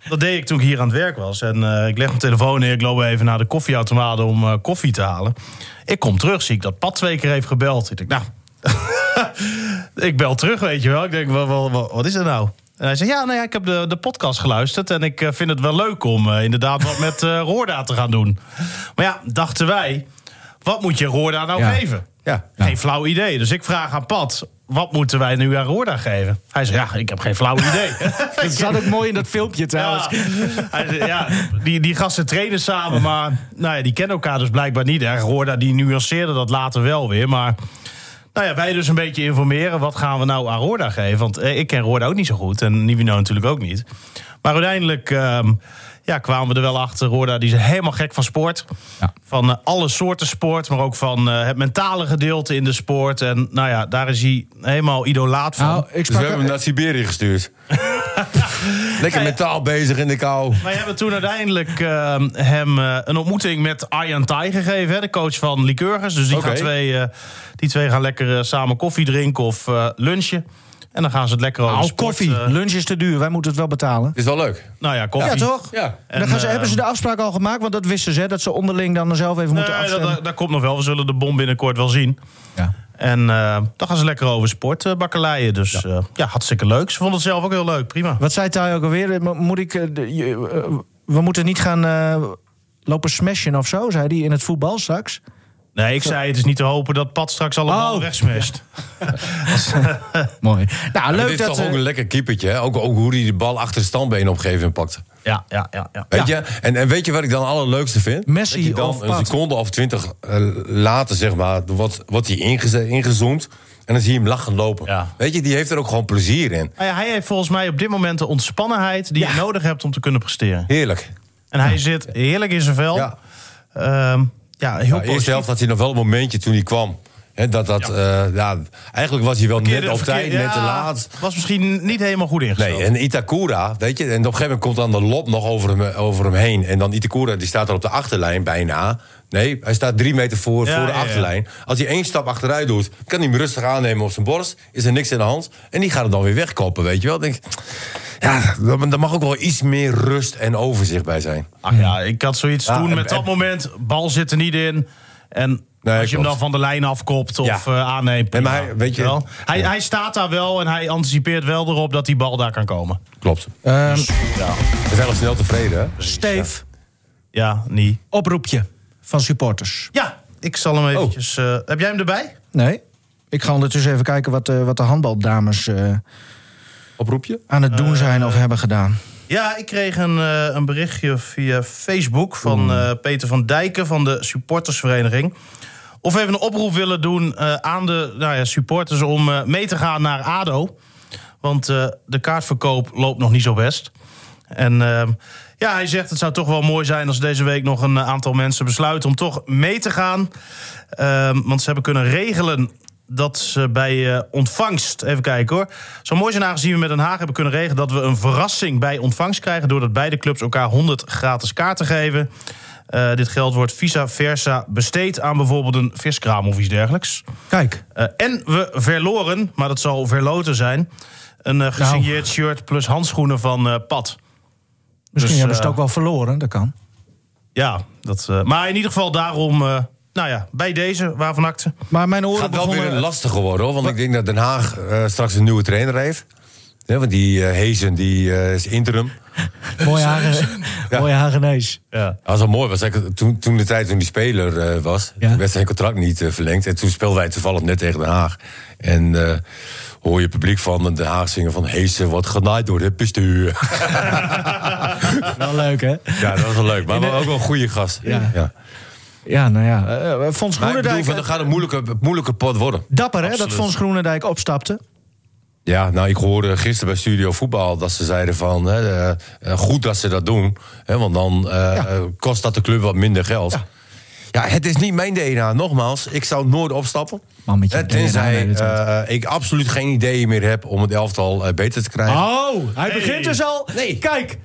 Speaker 4: dat deed ik toen ik hier aan het werk was. En eh, ik leg mijn telefoon neer, ik loop even naar de koffieautomaat om eh, koffie te halen. Ik kom terug, zie ik dat Pat twee keer heeft gebeld. Ik denk, nou... ik bel terug, weet je wel. Ik denk, wat, wat, wat, wat is er nou? En hij zei, ja, nou ja, ik heb de, de podcast geluisterd... en ik eh, vind het wel leuk om eh, inderdaad wat met eh Roorda te gaan doen. Maar ja, dachten wij, wat moet je Roorda nou
Speaker 2: Ja.
Speaker 4: geven?
Speaker 3: Ja.
Speaker 4: Geen flauw idee. Dus ik vraag aan Pat, wat moeten wij nu aan Roorda geven? Hij zei, ja, ik heb geen flauw idee.
Speaker 2: Dat zat ook mooi in dat filmpje trouwens.
Speaker 4: Ja, Hij zei, ja die, die gasten trainen samen, maar nou ja, die kennen elkaar dus blijkbaar niet. Hè. Roorda die nuanceerde dat later wel weer, maar... Nou ja, wij dus een beetje informeren. Wat gaan we nou aan Roorda geven? Want eh, ik ken Roorda ook niet zo goed. En Nivino natuurlijk ook niet. Maar uiteindelijk ehm, ja, kwamen we er wel achter. Roorda die is helemaal gek van sport.
Speaker 2: Ja.
Speaker 4: Van eh, alle soorten sport. Maar ook van eh, het mentale gedeelte in de sport. En nou ja, daar is hij helemaal idolaat van.
Speaker 2: Nou, ik
Speaker 3: Dus we
Speaker 2: sprak...
Speaker 3: hebben hem naar Siberië gestuurd. Lekker mentaal bezig in de kou.
Speaker 4: Wij hebben toen uiteindelijk ehm, hem eh, een ontmoeting met Arjan Tai gegeven. Hè, de coach van Lycurgus. Dus die,
Speaker 3: Oké.
Speaker 4: gaan twee, eh, die twee gaan lekker eh, samen koffie drinken of eh, lunchen. En dan gaan ze het lekker over
Speaker 2: Al
Speaker 4: sport,
Speaker 2: Nou, koffie.
Speaker 4: eh,
Speaker 2: Lunch is te duur, wij moeten het wel betalen.
Speaker 3: Het is wel leuk.
Speaker 4: nou ja, koffie.
Speaker 2: Ja, toch?
Speaker 3: Ja.
Speaker 4: En,
Speaker 2: dan gaan ze,
Speaker 4: eh,
Speaker 2: hebben ze de afspraak al gemaakt? Want dat wisten ze, hè, dat ze onderling dan zelf even moeten
Speaker 4: Nee, dat,
Speaker 2: afstemmen.
Speaker 4: dat- dat komt nog wel. We zullen de bom binnenkort wel zien.
Speaker 2: Ja.
Speaker 4: En eh, dan gaan ze lekker over sport eh, bakkeleien. Dus ja. ja, hartstikke leuk. Ze vonden het zelf ook heel leuk. Prima.
Speaker 2: Wat zei Thij ook alweer? Mo- Moet ik, eh, de- je- eh, we moeten niet gaan eh, lopen smashen of zo, zei hij in het voetbal straks.
Speaker 4: Nee, ik zei het is niet te hopen dat Pat straks allemaal
Speaker 2: Oh.
Speaker 4: wegsmest.
Speaker 2: Mooi. Nou,
Speaker 3: Leuk
Speaker 2: leuk
Speaker 3: dit
Speaker 2: dat...
Speaker 3: is toch ook
Speaker 2: eh,
Speaker 3: een lekker keepertje. Hè? Ook, ook hoe hij de bal achter de standbeen op een gegeven moment pakt.
Speaker 4: Ja, ja, ja. ja.
Speaker 3: Weet je? En, en weet je wat ik dan het allerleukste vind?
Speaker 2: Messi
Speaker 3: dat je dan
Speaker 2: of
Speaker 3: een
Speaker 2: Pat.
Speaker 3: seconde of twintig eh, later, zeg maar, wordt wordt hij ingeze- ingezoomd. En dan zie je hem lachend lopen.
Speaker 4: Ja.
Speaker 3: Weet je, die heeft er ook gewoon plezier in.
Speaker 4: Nou ja, hij heeft volgens mij op dit moment de ontspannenheid die je nodig hebt om te kunnen presteren.
Speaker 3: Heerlijk.
Speaker 4: En hij zit heerlijk in zijn vel.
Speaker 3: Ja.
Speaker 4: Ehm, ja, heel
Speaker 3: Nou, eerst
Speaker 4: positief.
Speaker 3: zelf had hij nog wel een momentje toen hij kwam. Hè, dat, dat, eh, ja, eigenlijk was hij wel net
Speaker 4: Verkeerde-
Speaker 3: op tijd,
Speaker 4: verkeer-
Speaker 3: net te
Speaker 4: ja,
Speaker 3: laat.
Speaker 4: Was misschien niet helemaal goed ingesteld.
Speaker 3: Nee, en Itakura, weet je, en op een gegeven moment komt dan de lop nog over hem, over hem heen. En dan Itakura, die staat er op de achterlijn bijna. Nee, hij staat drie meter voor,
Speaker 4: Ja,
Speaker 3: voor de
Speaker 4: ja, ja.
Speaker 3: achterlijn. Als hij één stap achteruit doet, kan hij hem rustig aannemen op zijn borst. Is er niks in de hand. En die gaat hem dan weer wegkoppen, weet je wel. Dan Denk, ik, ja, daar mag ook wel iets meer rust en overzicht bij zijn.
Speaker 4: Ach ja, ik had zoiets
Speaker 3: Ja,
Speaker 4: toen
Speaker 3: en-
Speaker 4: met dat
Speaker 3: en-
Speaker 4: moment. Bal zit er niet in. En
Speaker 3: Nee,
Speaker 4: als je hem
Speaker 3: klopt.
Speaker 4: dan van de lijn afkopt of
Speaker 3: Ja.
Speaker 4: eh, aanneemt.
Speaker 3: Nee, maar
Speaker 4: prima,
Speaker 3: hij- weet je-
Speaker 4: wel. Hij, hij staat daar wel en hij anticipeert wel erop dat die bal daar kan komen.
Speaker 3: Klopt.
Speaker 2: ehm,
Speaker 3: We zijn al snel tevreden, hè?
Speaker 2: Steve,
Speaker 4: Ja, niet.
Speaker 2: oproepje van supporters.
Speaker 4: Ja, ik zal
Speaker 3: Oh.
Speaker 4: hem eventjes... eh, heb jij hem erbij?
Speaker 2: Nee? Ik ga ondertussen even kijken wat, eh, wat de handbaldames eh,
Speaker 3: Oproepje?
Speaker 2: aan het doen zijn of hebben gedaan.
Speaker 4: Ja, ik kreeg een, eh, een berichtje via Facebook van eh, Peter van Dijken van de supportersvereniging. Of we even een oproep willen doen eh, aan de nou ja, supporters om eh, mee te gaan naar ADO. Want eh, de kaartverkoop loopt nog niet zo best. En eh, ja, hij zegt het zou toch wel mooi zijn als deze week nog een eh, aantal mensen besluiten om toch mee te gaan. Ehm, want ze hebben kunnen regelen dat ze bij eh, ontvangst, even kijken hoor. Zo mooi zijn aangezien we met Den Haag hebben kunnen regelen dat we een verrassing bij ontvangst krijgen. Doordat beide clubs elkaar 100 gratis kaarten geven. Eh, dit geld wordt vice versa besteed aan bijvoorbeeld een viskraam of iets dergelijks.
Speaker 2: Kijk,
Speaker 4: Eh, en we verloren, maar dat zal verloten zijn. Een eh, gesigneerd shirt plus handschoenen van eh Pat.
Speaker 2: misschien
Speaker 4: Dus,
Speaker 2: hebben ze
Speaker 4: eh,
Speaker 2: het ook wel verloren, dat kan.
Speaker 4: Ja, dat, eh, maar in ieder geval daarom. eh, nou ja, bij deze, waarvan acte.
Speaker 2: Maar mijn
Speaker 3: Het
Speaker 2: oren
Speaker 3: gaat wel weer
Speaker 2: begonnen...
Speaker 3: lastig geworden, hoor. Want ik denk dat Den Haag eh, straks een nieuwe trainer heeft. Ja, want die eh, Hezen die, eh, is interim.
Speaker 2: Mooi, Hagen, mooi Hagenees.
Speaker 4: Ja.
Speaker 3: Dat was wel mooi. Was eigenlijk toen, toen de tijd toen die speler eh, was,
Speaker 2: Ja.
Speaker 3: toen werd zijn contract niet eh, verlengd. En toen speelden wij toevallig net tegen Den Haag. En eh, hoor je publiek van Den Haag zingen van... Heesen wordt genaaid door het bestuur.
Speaker 2: Wel leuk, hè?
Speaker 3: ja, dat was wel leuk. Maar
Speaker 2: In de-
Speaker 3: ook wel een goede gast.
Speaker 2: Ja.
Speaker 3: Ja.
Speaker 2: Ja, nou ja. eh, eh, Fons
Speaker 3: Maar ik bedoel,
Speaker 2: Groenendijk...
Speaker 3: van, dat gaat een moeilijke, moeilijke pot worden.
Speaker 2: Dapper, hè, dat
Speaker 3: Absoluut.
Speaker 2: Fons Groenendijk opstapte.
Speaker 3: Ja, nou, ik hoorde gisteren bij Studio Voetbal dat ze zeiden van... Hè, eh, eh, goed dat ze dat doen, hè, want dan eh, eh, kost dat de club wat minder geld. Ja. het is niet mijn DNA, nogmaals. Ik zou nooit opstappen.
Speaker 2: Man, met je
Speaker 3: Hè,
Speaker 2: DNA
Speaker 3: tenzij
Speaker 2: de hele
Speaker 3: eh, ik absoluut geen idee meer heb om het elftal eh, beter te krijgen.
Speaker 2: Oh, hij begint dus al.
Speaker 3: Nee.
Speaker 2: Kijk,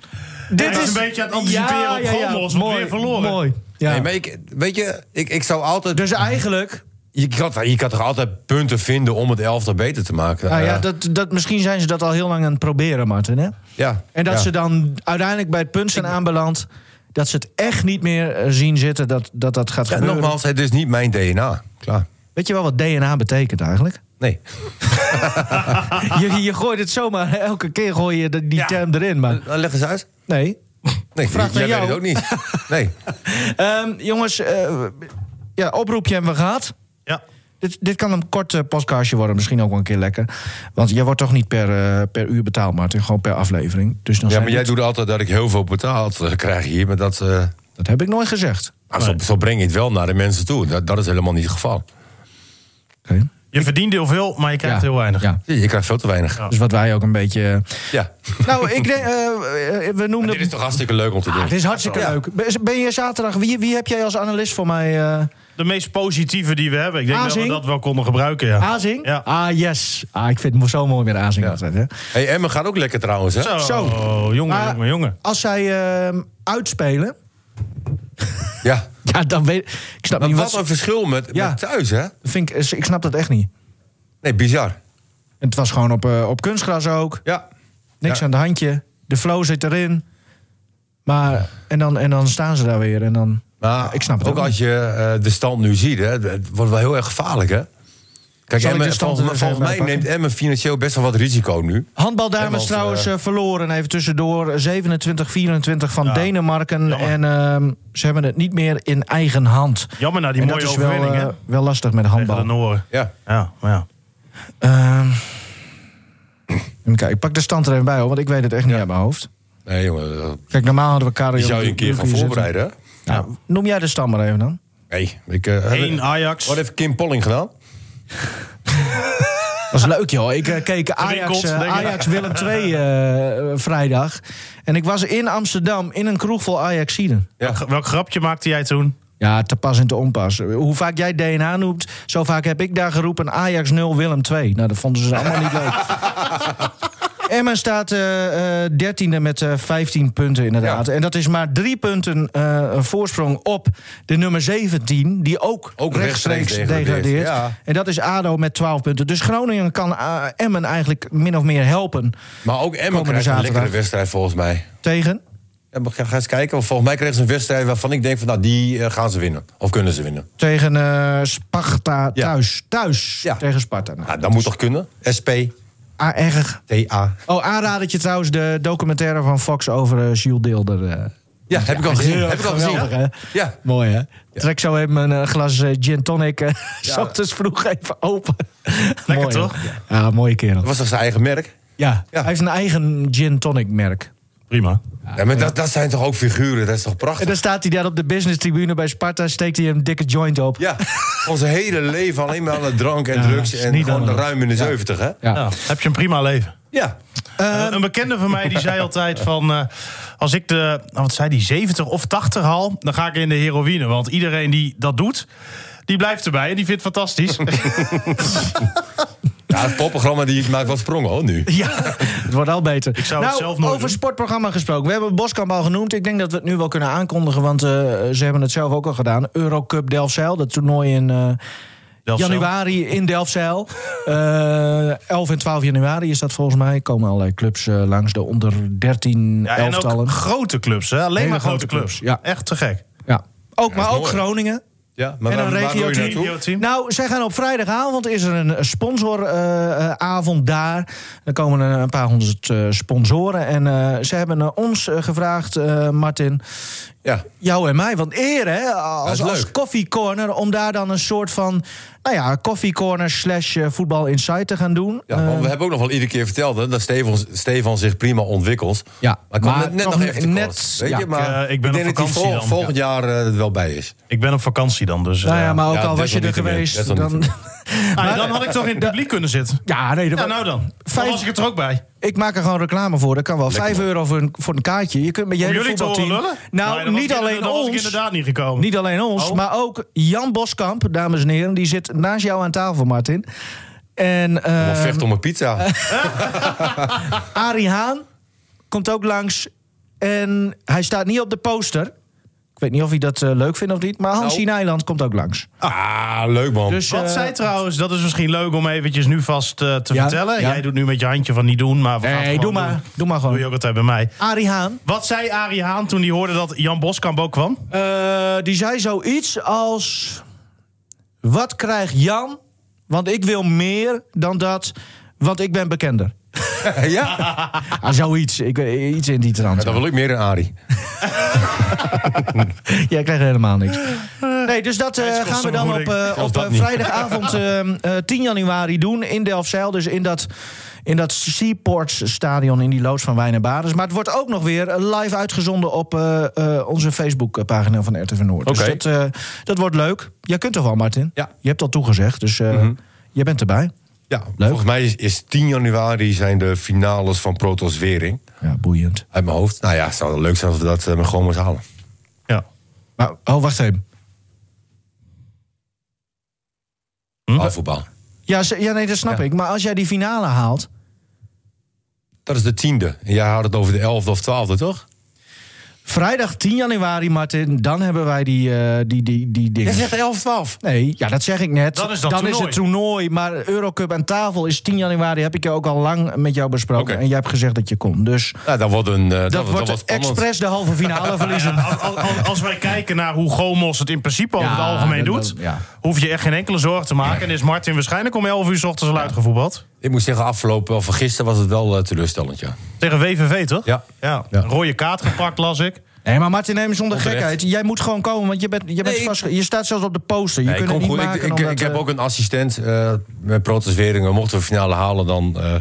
Speaker 2: dit
Speaker 4: Hij is
Speaker 2: is...
Speaker 4: een beetje aan het anticiperen op Gommels, want
Speaker 2: Mooi,
Speaker 4: weer verloren.
Speaker 2: Mooi, ja.
Speaker 3: Nee, maar ik, weet je, ik, ik zou altijd...
Speaker 2: Dus eigenlijk...
Speaker 3: je, kan, je kan toch altijd punten vinden om het elftal beter te maken?
Speaker 2: Nou ja,
Speaker 3: Eh,
Speaker 2: dat, dat, misschien zijn ze dat al heel lang aan het proberen, Martin. Hè?
Speaker 3: ja,
Speaker 2: En dat
Speaker 3: ja.
Speaker 2: ze dan uiteindelijk bij het punt zijn aanbeland... dat ze het echt niet meer eh, zien zitten dat dat, dat gaat
Speaker 3: Ja,
Speaker 2: gebeuren.
Speaker 3: nogmaals, het is niet mijn DNA. Klaar.
Speaker 2: Weet je wel wat DNA betekent eigenlijk?
Speaker 3: Nee.
Speaker 2: je, je gooit het zomaar, elke keer gooi je de- die
Speaker 4: Ah. Ja.
Speaker 2: term erin. Maar
Speaker 3: Dan Eh, leg eens uit.
Speaker 2: nee.
Speaker 3: Nee,
Speaker 2: Vraag
Speaker 3: jij
Speaker 2: naar
Speaker 3: weet het
Speaker 2: jou.
Speaker 3: ook niet. Nee.
Speaker 2: Ehm, jongens, eh, ja, oproepje hebben we gehad.
Speaker 4: Ja.
Speaker 2: Dit, dit kan een kort eh, podcastje worden, misschien ook wel een keer lekker. Want jij wordt toch niet per, eh, per uur betaald, Martin, gewoon per aflevering. Dus dan
Speaker 3: Ja,
Speaker 2: zijn
Speaker 3: maar jij
Speaker 2: dit-
Speaker 3: doet altijd dat ik heel veel betaald eh, krijg hier. Maar dat, eh,
Speaker 2: Dat heb ik nooit gezegd.
Speaker 3: maar zo, zo breng je het wel naar de mensen toe. Dat, dat is helemaal niet het geval.
Speaker 2: Oké.
Speaker 4: Je verdient heel veel, maar je krijgt
Speaker 2: Ja,
Speaker 4: heel weinig.
Speaker 2: Ja.
Speaker 3: Je krijgt veel te weinig. Ja.
Speaker 2: Dus wat wij ook een beetje... Nou, ik denk, eh, eh, we noemden...
Speaker 3: Dit is toch hartstikke leuk om te doen.
Speaker 2: Ah, dit is hartstikke
Speaker 3: Ja.
Speaker 2: leuk. Ben- Ben je zaterdag... Wie, wie heb jij als analist voor mij? eh
Speaker 4: De meest positieve die we hebben. Ik denk dat
Speaker 2: Azing?
Speaker 4: we dat wel konden gebruiken. Ja.
Speaker 2: Azing?
Speaker 4: Ja.
Speaker 2: Ah, yes. Ah, ik vind het zo mooi weer Azing altijd, hè?
Speaker 3: Hey, Emmen gaat ook lekker trouwens, hè?
Speaker 4: Zo,
Speaker 2: Zo.
Speaker 4: Oh,
Speaker 2: Ah.
Speaker 4: jongen,
Speaker 2: Maar-
Speaker 4: jongen, jongen.
Speaker 2: Als zij ehm, uitspelen...
Speaker 3: Ja.
Speaker 2: Ja, dan weet ik... snap
Speaker 3: Maar
Speaker 2: niet
Speaker 3: wat
Speaker 2: wat...
Speaker 3: een verschil met,
Speaker 2: Ja.
Speaker 3: met thuis, hè?
Speaker 2: Vind ik, ik snap dat echt niet.
Speaker 3: Nee, bizar.
Speaker 2: Het was gewoon op, eh, op kunstgras ook.
Speaker 3: Ja.
Speaker 2: Niks
Speaker 3: Ja.
Speaker 2: aan de handje. De flow zit erin. Maar, en, dan, en dan staan ze daar weer. En dan,
Speaker 3: Maar
Speaker 2: ik snap het
Speaker 3: ook
Speaker 2: ook
Speaker 3: als
Speaker 2: niet.
Speaker 3: je eh, de stand nu ziet, hè, het wordt wel heel erg gevaarlijk, hè? Kijk,
Speaker 2: Zal ik
Speaker 3: Emmen,
Speaker 2: de stand
Speaker 3: volgens,
Speaker 2: er eens
Speaker 3: volgens
Speaker 2: even
Speaker 3: mij
Speaker 2: bij
Speaker 3: neemt Emmen financieel best wel wat risico nu.
Speaker 2: Handbaldames
Speaker 3: Helemaal,
Speaker 2: trouwens
Speaker 3: eh,
Speaker 2: eh, verloren. Even tussendoor. 27-24 van Denemarken.
Speaker 4: Jammer.
Speaker 2: En ehm, ze hebben het niet meer in eigen hand.
Speaker 4: Jammer na die
Speaker 2: en
Speaker 4: mooie
Speaker 2: dat is wel,
Speaker 4: overwinning,
Speaker 2: eh,
Speaker 4: hè?
Speaker 2: wel lastig met
Speaker 4: Tegen de
Speaker 2: handbal.
Speaker 4: Noren.
Speaker 3: Ja.
Speaker 4: Ja, maar ja.
Speaker 2: Ehm, even kijken. Ik pak de stand er even bij, hoor, want ik weet het echt niet uit mijn hoofd.
Speaker 3: Nee, jongen. dat-
Speaker 2: Kijk, normaal hadden we Karel...
Speaker 3: Die zou je een keer gaan voorbereiden, hè?
Speaker 2: Nou, noem jij de stand maar even dan.
Speaker 3: Nee. Ik, eh,
Speaker 4: Eén
Speaker 3: heb-
Speaker 4: Ajax.
Speaker 3: Wat heeft Kim Polling gedaan?
Speaker 2: Dat was leuk, joh. Ik eh, keek Ajax,
Speaker 4: goals,
Speaker 2: eh,
Speaker 4: denk ik.
Speaker 2: Ajax Willem II eh, eh, vrijdag. En ik was in Amsterdam in een kroeg vol Ajaxiden.
Speaker 4: Welk- Welk grapje maakte jij toen?
Speaker 2: Ja, te pas en te onpas. Hoe vaak jij DNA noemt, zo vaak heb ik daar geroepen... Ajax 0, Willem 2. Nou, dat vonden ze allemaal niet leuk. Emma staat dertiende e met eh 15 punten inderdaad.
Speaker 3: Ja.
Speaker 2: En dat is maar drie punten eh, een voorsprong op de nummer 17... die ook,
Speaker 3: Ook
Speaker 2: rechtstreeks
Speaker 3: rechtstreeks
Speaker 2: degradeert.
Speaker 3: degradeert, ja.
Speaker 2: En dat is ADO met 12 punten. Dus Groningen kan eh, Emmen eigenlijk min of meer helpen
Speaker 3: Maar ook Emmen
Speaker 2: Komende
Speaker 3: krijgt een
Speaker 2: zaterdag.
Speaker 3: lekkere wedstrijd volgens mij.
Speaker 2: tegen...
Speaker 3: Ja, maar ga ga eens kijken. want Volgens mij krijgen ze een wedstrijd waarvan ik denk van nou, die eh, gaan ze winnen. Of kunnen ze winnen.
Speaker 2: Tegen eh, Sparta
Speaker 3: Ja.
Speaker 2: thuis. Thuis
Speaker 3: Ja.
Speaker 2: tegen Sparta. Nou,
Speaker 3: Nou, dat moet toch kunnen? SP,
Speaker 2: ah, erg.
Speaker 3: TA.
Speaker 2: Oh, aanradertje trouwens, de documentaire van Fox over eh, Jules Deelder. eh.
Speaker 3: Ja, heb ik al gezien. Heb ik al gezien.
Speaker 2: Geweldig, hè?
Speaker 3: Ja.
Speaker 2: Mooi, hè? Trek zo even een eh, glas eh, gin tonic. eh, s
Speaker 3: Ja.
Speaker 2: ochtends vroeg even open.
Speaker 4: Lekker,
Speaker 2: Mooi, hè?
Speaker 4: toch?
Speaker 2: Ja, mooie kerel.
Speaker 3: Dat was toch zijn eigen merk?
Speaker 2: Ja.
Speaker 3: Ja.
Speaker 2: hij heeft een eigen gin tonic merk.
Speaker 4: Prima.
Speaker 3: Ja, maar dat, dat zijn toch ook figuren? Dat is toch
Speaker 2: En
Speaker 3: prachtig?
Speaker 2: dan staat hij daar op de business tribune bij Sparta, steekt hij een dikke joint op.
Speaker 3: Ja, ons hele leven alleen maar aan de drank en
Speaker 2: Ja,
Speaker 3: drugs.
Speaker 2: is
Speaker 3: En
Speaker 2: niet
Speaker 3: gewoon
Speaker 2: anders.
Speaker 3: ruim in de 70, hè?
Speaker 2: Ja. Ehm.
Speaker 4: Ja, heb je een prima leven.
Speaker 3: Ja.
Speaker 4: Een- een bekende van mij die zei altijd van... eh, als ik de, nou, wat zei die, 70 of 80 haal... dan ga ik in de heroïne. Want iedereen die dat doet, die blijft erbij. En die vindt het fantastisch.
Speaker 3: Ja, het popprogramma die maakt wel sprongen, hoor, nu.
Speaker 2: Ja, het wordt al beter.
Speaker 4: Ik zou het
Speaker 2: nou,
Speaker 4: zelf nooit
Speaker 2: over
Speaker 4: doen.
Speaker 2: sportprogramma gesproken. We hebben Boskamp al genoemd. Ik denk dat we het nu wel kunnen aankondigen, want eh, ze hebben het zelf ook al gedaan. Eurocup Delfzijl, dat toernooi in eh,
Speaker 4: Delfzijl.
Speaker 2: januari in Delfzijl. Eh 11 en 12 januari is dat volgens mij. Komen allerlei clubs eh, langs, de onder 13
Speaker 4: Ja, en
Speaker 2: elftallen.
Speaker 4: ook grote clubs, hè? alleen
Speaker 2: Hele
Speaker 4: maar grote,
Speaker 2: grote
Speaker 4: clubs.
Speaker 2: clubs, ja.
Speaker 4: Echt te gek.
Speaker 2: Ja. Ook, maar ook
Speaker 3: mooi.
Speaker 2: Groningen.
Speaker 3: Ja, maar
Speaker 2: En
Speaker 3: waar,
Speaker 2: een
Speaker 3: waar wil je
Speaker 2: regio-team.
Speaker 3: naartoe?
Speaker 2: Nou, zij gaan op vrijdagavond is er een sponsoravond eh, daar. Er komen een, een paar honderd eh, sponsoren. En eh, ze hebben eh, ons eh, gevraagd, eh, Martin,
Speaker 3: Ja,
Speaker 2: jou en mij. Want eer, hè, als,
Speaker 3: Dat is
Speaker 2: als
Speaker 3: leuk.
Speaker 2: koffiecorner, om daar dan een soort van... nou ja, koffiecorner slash eh, voetbal insight te gaan doen.
Speaker 3: ja want
Speaker 2: Eh,
Speaker 3: we hebben ook nog wel iedere keer verteld hè, dat Stefan, Stefan zich prima ontwikkelt.
Speaker 2: Ja,
Speaker 3: maar ik kwam
Speaker 2: maar
Speaker 3: net, net
Speaker 2: toch
Speaker 3: nog even te
Speaker 2: net-
Speaker 3: kort, weet
Speaker 2: ja,
Speaker 3: je, maar
Speaker 4: ik, eh, ik ben op
Speaker 3: denk dat hij
Speaker 4: vakantie
Speaker 3: vol-
Speaker 4: dan,
Speaker 3: volgend jaar eh, er wel bij is.
Speaker 4: Ik ben op vakantie dan, dus...
Speaker 2: nou
Speaker 4: eh,
Speaker 2: ja, maar ook
Speaker 3: ja,
Speaker 2: al was je er
Speaker 3: desalniettemin,
Speaker 2: geweest, dan...
Speaker 4: ah, dan had ik toch in het publiek kunnen zitten.
Speaker 2: Ja, nee, dat
Speaker 4: Ja, nou dan. Dan
Speaker 2: Vijf-
Speaker 4: was ik het er ook bij.
Speaker 2: Ik maak er gewoon reclame voor. Dat kan wel. 5 euro voor een, voor een kaartje. Je kunt met je
Speaker 4: Om
Speaker 2: hele
Speaker 4: jullie te horen
Speaker 2: voetbalteam.
Speaker 4: lullen?
Speaker 2: Nou,
Speaker 4: Nee, dan was
Speaker 2: niet
Speaker 4: ik-
Speaker 2: alleen
Speaker 4: dan was ik
Speaker 2: ons.
Speaker 4: inderdaad niet gekomen.
Speaker 2: Niet alleen ons,
Speaker 4: Oh.
Speaker 2: maar ook Jan Boskamp, dames en heren. Die zit naast jou aan tafel, Martin. En
Speaker 3: Wel
Speaker 2: eh
Speaker 3: vecht om een pizza.
Speaker 2: Arie Haan komt ook langs. En hij staat niet op de poster. Ik weet niet of hij dat eh, leuk vindt of niet. Maar Hansi
Speaker 4: Nou.
Speaker 2: Nijland komt ook langs.
Speaker 3: Ah, leuk man.
Speaker 2: Dus,
Speaker 4: Wat
Speaker 2: eh,
Speaker 4: zij trouwens, dat is misschien leuk om eventjes nu vast eh, te
Speaker 2: Ja,
Speaker 4: vertellen.
Speaker 2: ja.
Speaker 4: Jij doet nu met je handje van niet doen, maar we gaan het
Speaker 2: Nee, doe
Speaker 4: gewoon
Speaker 2: maar.
Speaker 4: doen.
Speaker 2: Doe maar
Speaker 4: Doe je
Speaker 2: gewoon.
Speaker 4: ook altijd bij mij.
Speaker 2: Arie Haan.
Speaker 4: Wat zei Arie Haan toen hij hoorde dat Jan Boskamp ook kwam?
Speaker 2: Eh, die zei zoiets als: Wat krijgt Jan? Want ik wil meer dan dat, want ik ben bekender.
Speaker 3: ja,
Speaker 2: Ah, zoiets. Ik, weet- iets in die trant.
Speaker 3: dat wil ik meer dan Arie.
Speaker 2: Jij krijgt helemaal niks. Nee, dus dat eh, gaan we dan op, eh,
Speaker 3: Zelfs
Speaker 2: op
Speaker 3: dat
Speaker 2: eh,
Speaker 3: niet.
Speaker 2: vrijdagavond ehm, eh, 10 januari doen in Delfzijl. Dus in dat, in dat Seaports stadion in die loods van Wijn en Baders. Maar het wordt ook nog weer live uitgezonden op eh, eh, onze Facebookpagina van RTV Noord. Dus
Speaker 3: Oké.
Speaker 2: dat, eh, dat wordt leuk. Jij kunt toch wel, Martin?
Speaker 3: Ja.
Speaker 2: Je hebt al toegezegd, dus eh je bent erbij.
Speaker 3: Ja, volgens mij is, is 10 januari zijn de finales van Protos Wering.
Speaker 2: Ja, boeiend.
Speaker 3: Uit mijn hoofd. Nou ja, het zou wel leuk zijn als we dat eh, maar gewoon moeten halen.
Speaker 4: Ja.
Speaker 2: Maar, oh, wacht even. Hm?
Speaker 3: Halvoetbal.
Speaker 2: Ja, ze- ja, nee, dat snap ik. Maar als jij die finale haalt...
Speaker 3: Dat is de tiende. En jij had het over de elfde of twaalfde, toch?
Speaker 2: Vrijdag 10 januari, Martin, dan hebben wij die, eh, die, die, die dingen.
Speaker 3: Jij zegt 11, 12.
Speaker 2: Nee, ja, dat zeg ik net.
Speaker 4: Dan is dat toernooi.
Speaker 2: het toernooi. Maar Eurocup aan tafel is 10 januari. Heb ik je ook al lang met jou besproken.
Speaker 3: Oké.
Speaker 2: En jij hebt gezegd dat je komt. Dus
Speaker 3: Nou, dat wordt een. eh, dat,
Speaker 2: dat,
Speaker 3: dat
Speaker 2: wordt
Speaker 3: wordt spannend.
Speaker 2: expres de halve finale
Speaker 4: Nou,
Speaker 2: verliezen.
Speaker 4: Als, als- als wij kijken naar hoe Gomos het in principe over
Speaker 2: Ja,
Speaker 4: het algemeen
Speaker 2: dat-
Speaker 4: doet,
Speaker 2: dat- ja.
Speaker 4: hoef je echt geen enkele zorgen te maken. En is Martin waarschijnlijk om 11 uur 's ochtends al uitgevoetbald.
Speaker 3: Ik moet zeggen, afgelopen, of gisteren was het wel eh, teleurstellend, ja.
Speaker 4: Tegen WVV, toch?
Speaker 3: Ja.
Speaker 4: ja. Een rode kaart gepakt, las ik.
Speaker 2: Nee, maar Martin, neem zonder
Speaker 3: Onterecht.
Speaker 2: gekheid. Jij moet gewoon komen, want je, bent, je, bent
Speaker 3: Nee, ik-
Speaker 2: vast, je staat zelfs op de poster. Je
Speaker 3: Nee, ik,
Speaker 2: kunt het niet
Speaker 3: kom goed.
Speaker 2: maken.
Speaker 3: ik, ik,
Speaker 2: omdat,
Speaker 3: ik heb
Speaker 2: eh,
Speaker 3: ook een assistent eh, met Protos Weringen. Mochten we finale halen, dan eh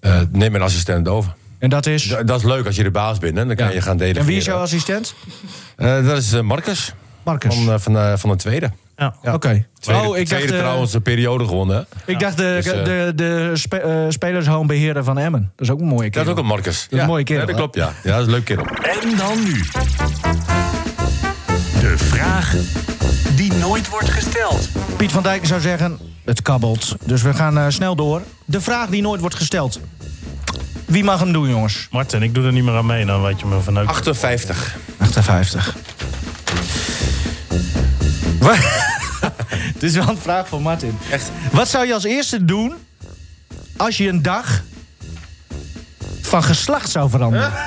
Speaker 3: eh neem mijn assistent over.
Speaker 2: En dat is...
Speaker 3: D- dat is leuk als je de baas bent, hè. dan kan
Speaker 2: Ja.
Speaker 3: je gaan delegeren.
Speaker 2: en wie is jouw assistent?
Speaker 3: Eh, dat is eh, Marcus.
Speaker 2: Marcus.
Speaker 3: Van, eh, van, eh, van de tweede.
Speaker 4: Ja.
Speaker 2: Oké.
Speaker 3: Tweede,
Speaker 2: Oh, ik
Speaker 3: tweede
Speaker 2: dacht, eh,
Speaker 3: trouwens een periode gewonnen. hè.
Speaker 2: ik dacht de,
Speaker 3: Dus, eh,
Speaker 2: de, de spe, eh, spelershomebeheerder van Emmen. Dat is ook een mooie
Speaker 3: Dat is
Speaker 2: kerel.
Speaker 3: ook een Marcus. Dat
Speaker 2: is een mooie kerel,
Speaker 3: Ja, dat klopt, ja. Ja, dat is een leuk kerel.
Speaker 1: En dan nu. De vraag die nooit wordt gesteld.
Speaker 2: Piet van Dijk zou zeggen, het kabbelt. Dus we gaan eh, snel door. De vraag die nooit wordt gesteld. Wie mag hem doen, jongens?
Speaker 4: Martin, ik doe er niet meer aan mee, dan weet je me vanuit.
Speaker 3: 58.
Speaker 2: 58. Wa- Het is wel een vraag van Martin.
Speaker 3: Echt?
Speaker 2: Wat zou je als eerste doen als je een dag van geslacht zou veranderen?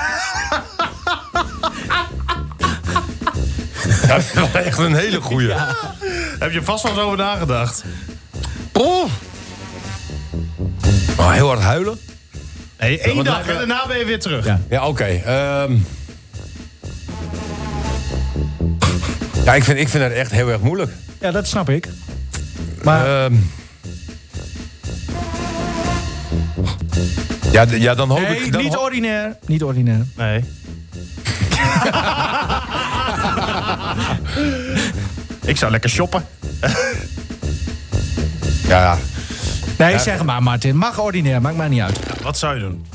Speaker 3: Dat is wel echt een hele goeie.
Speaker 4: Heb je vast wel eens over nagedacht?
Speaker 3: Oh. Maar heel hard huilen?
Speaker 4: Nee, één
Speaker 3: want
Speaker 4: dag
Speaker 3: laten
Speaker 4: en
Speaker 3: we-
Speaker 4: daarna ben je weer terug.
Speaker 2: Ja.
Speaker 3: Ja, oké. ehm. Ja, ik vind, ik vind het echt heel erg moeilijk.
Speaker 2: Ja, dat snap ik. Maar
Speaker 3: Ehm. Ja, d- ja, dan hoop
Speaker 2: nee,
Speaker 3: ik... Dan
Speaker 2: niet
Speaker 3: ho-
Speaker 2: ordinair. Niet ordinair.
Speaker 4: Nee. ik zou lekker shoppen.
Speaker 3: ja, ja. eh,
Speaker 2: Nee, zeg maar, Martin. Mag ordinair, maakt mij niet uit.
Speaker 4: Wat zou je doen?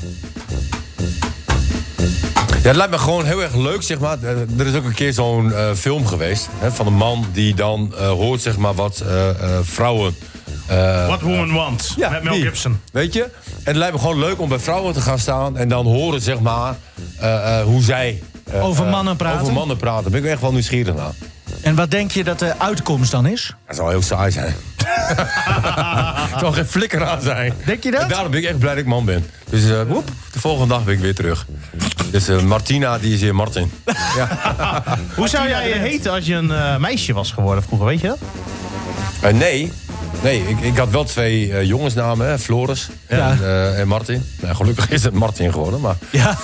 Speaker 3: Ja, het lijkt me gewoon heel erg leuk, zeg maar. Eh, Er is ook een keer zo'n eh, film geweest hè, van een man die dan eh, hoort, zeg maar, wat eh, eh, vrouwen... eh,
Speaker 4: What Woman Want met Mel
Speaker 3: die.
Speaker 4: Gibson.
Speaker 3: Weet je? En het lijkt me gewoon leuk om bij vrouwen te gaan staan en dan horen, zeg maar, eh, eh, hoe zij... eh,
Speaker 2: Over
Speaker 3: eh,
Speaker 2: mannen praten?
Speaker 3: Over mannen praten. Daar ben ik echt wel nieuwsgierig naar.
Speaker 2: En wat denk je dat de uitkomst dan is?
Speaker 3: Dat zou heel saai zijn. Het zal geen flikker aan zijn.
Speaker 2: Denk je dat?
Speaker 3: En daarom ben ik echt blij dat ik man ben. Dus eh, woep, de volgende dag ben ik weer terug. Dus eh, Martina, die is hier Martin.
Speaker 4: Hoe zou jij je heten als je een eh, meisje was geworden vroeger, weet je dat?
Speaker 3: Eh, nee, nee ik, ik had wel twee eh, jongensnamen, hè, Floris en,
Speaker 2: Ja.
Speaker 3: eh, en Martin. Nou, gelukkig is het Martin geworden, maar...
Speaker 2: Ja.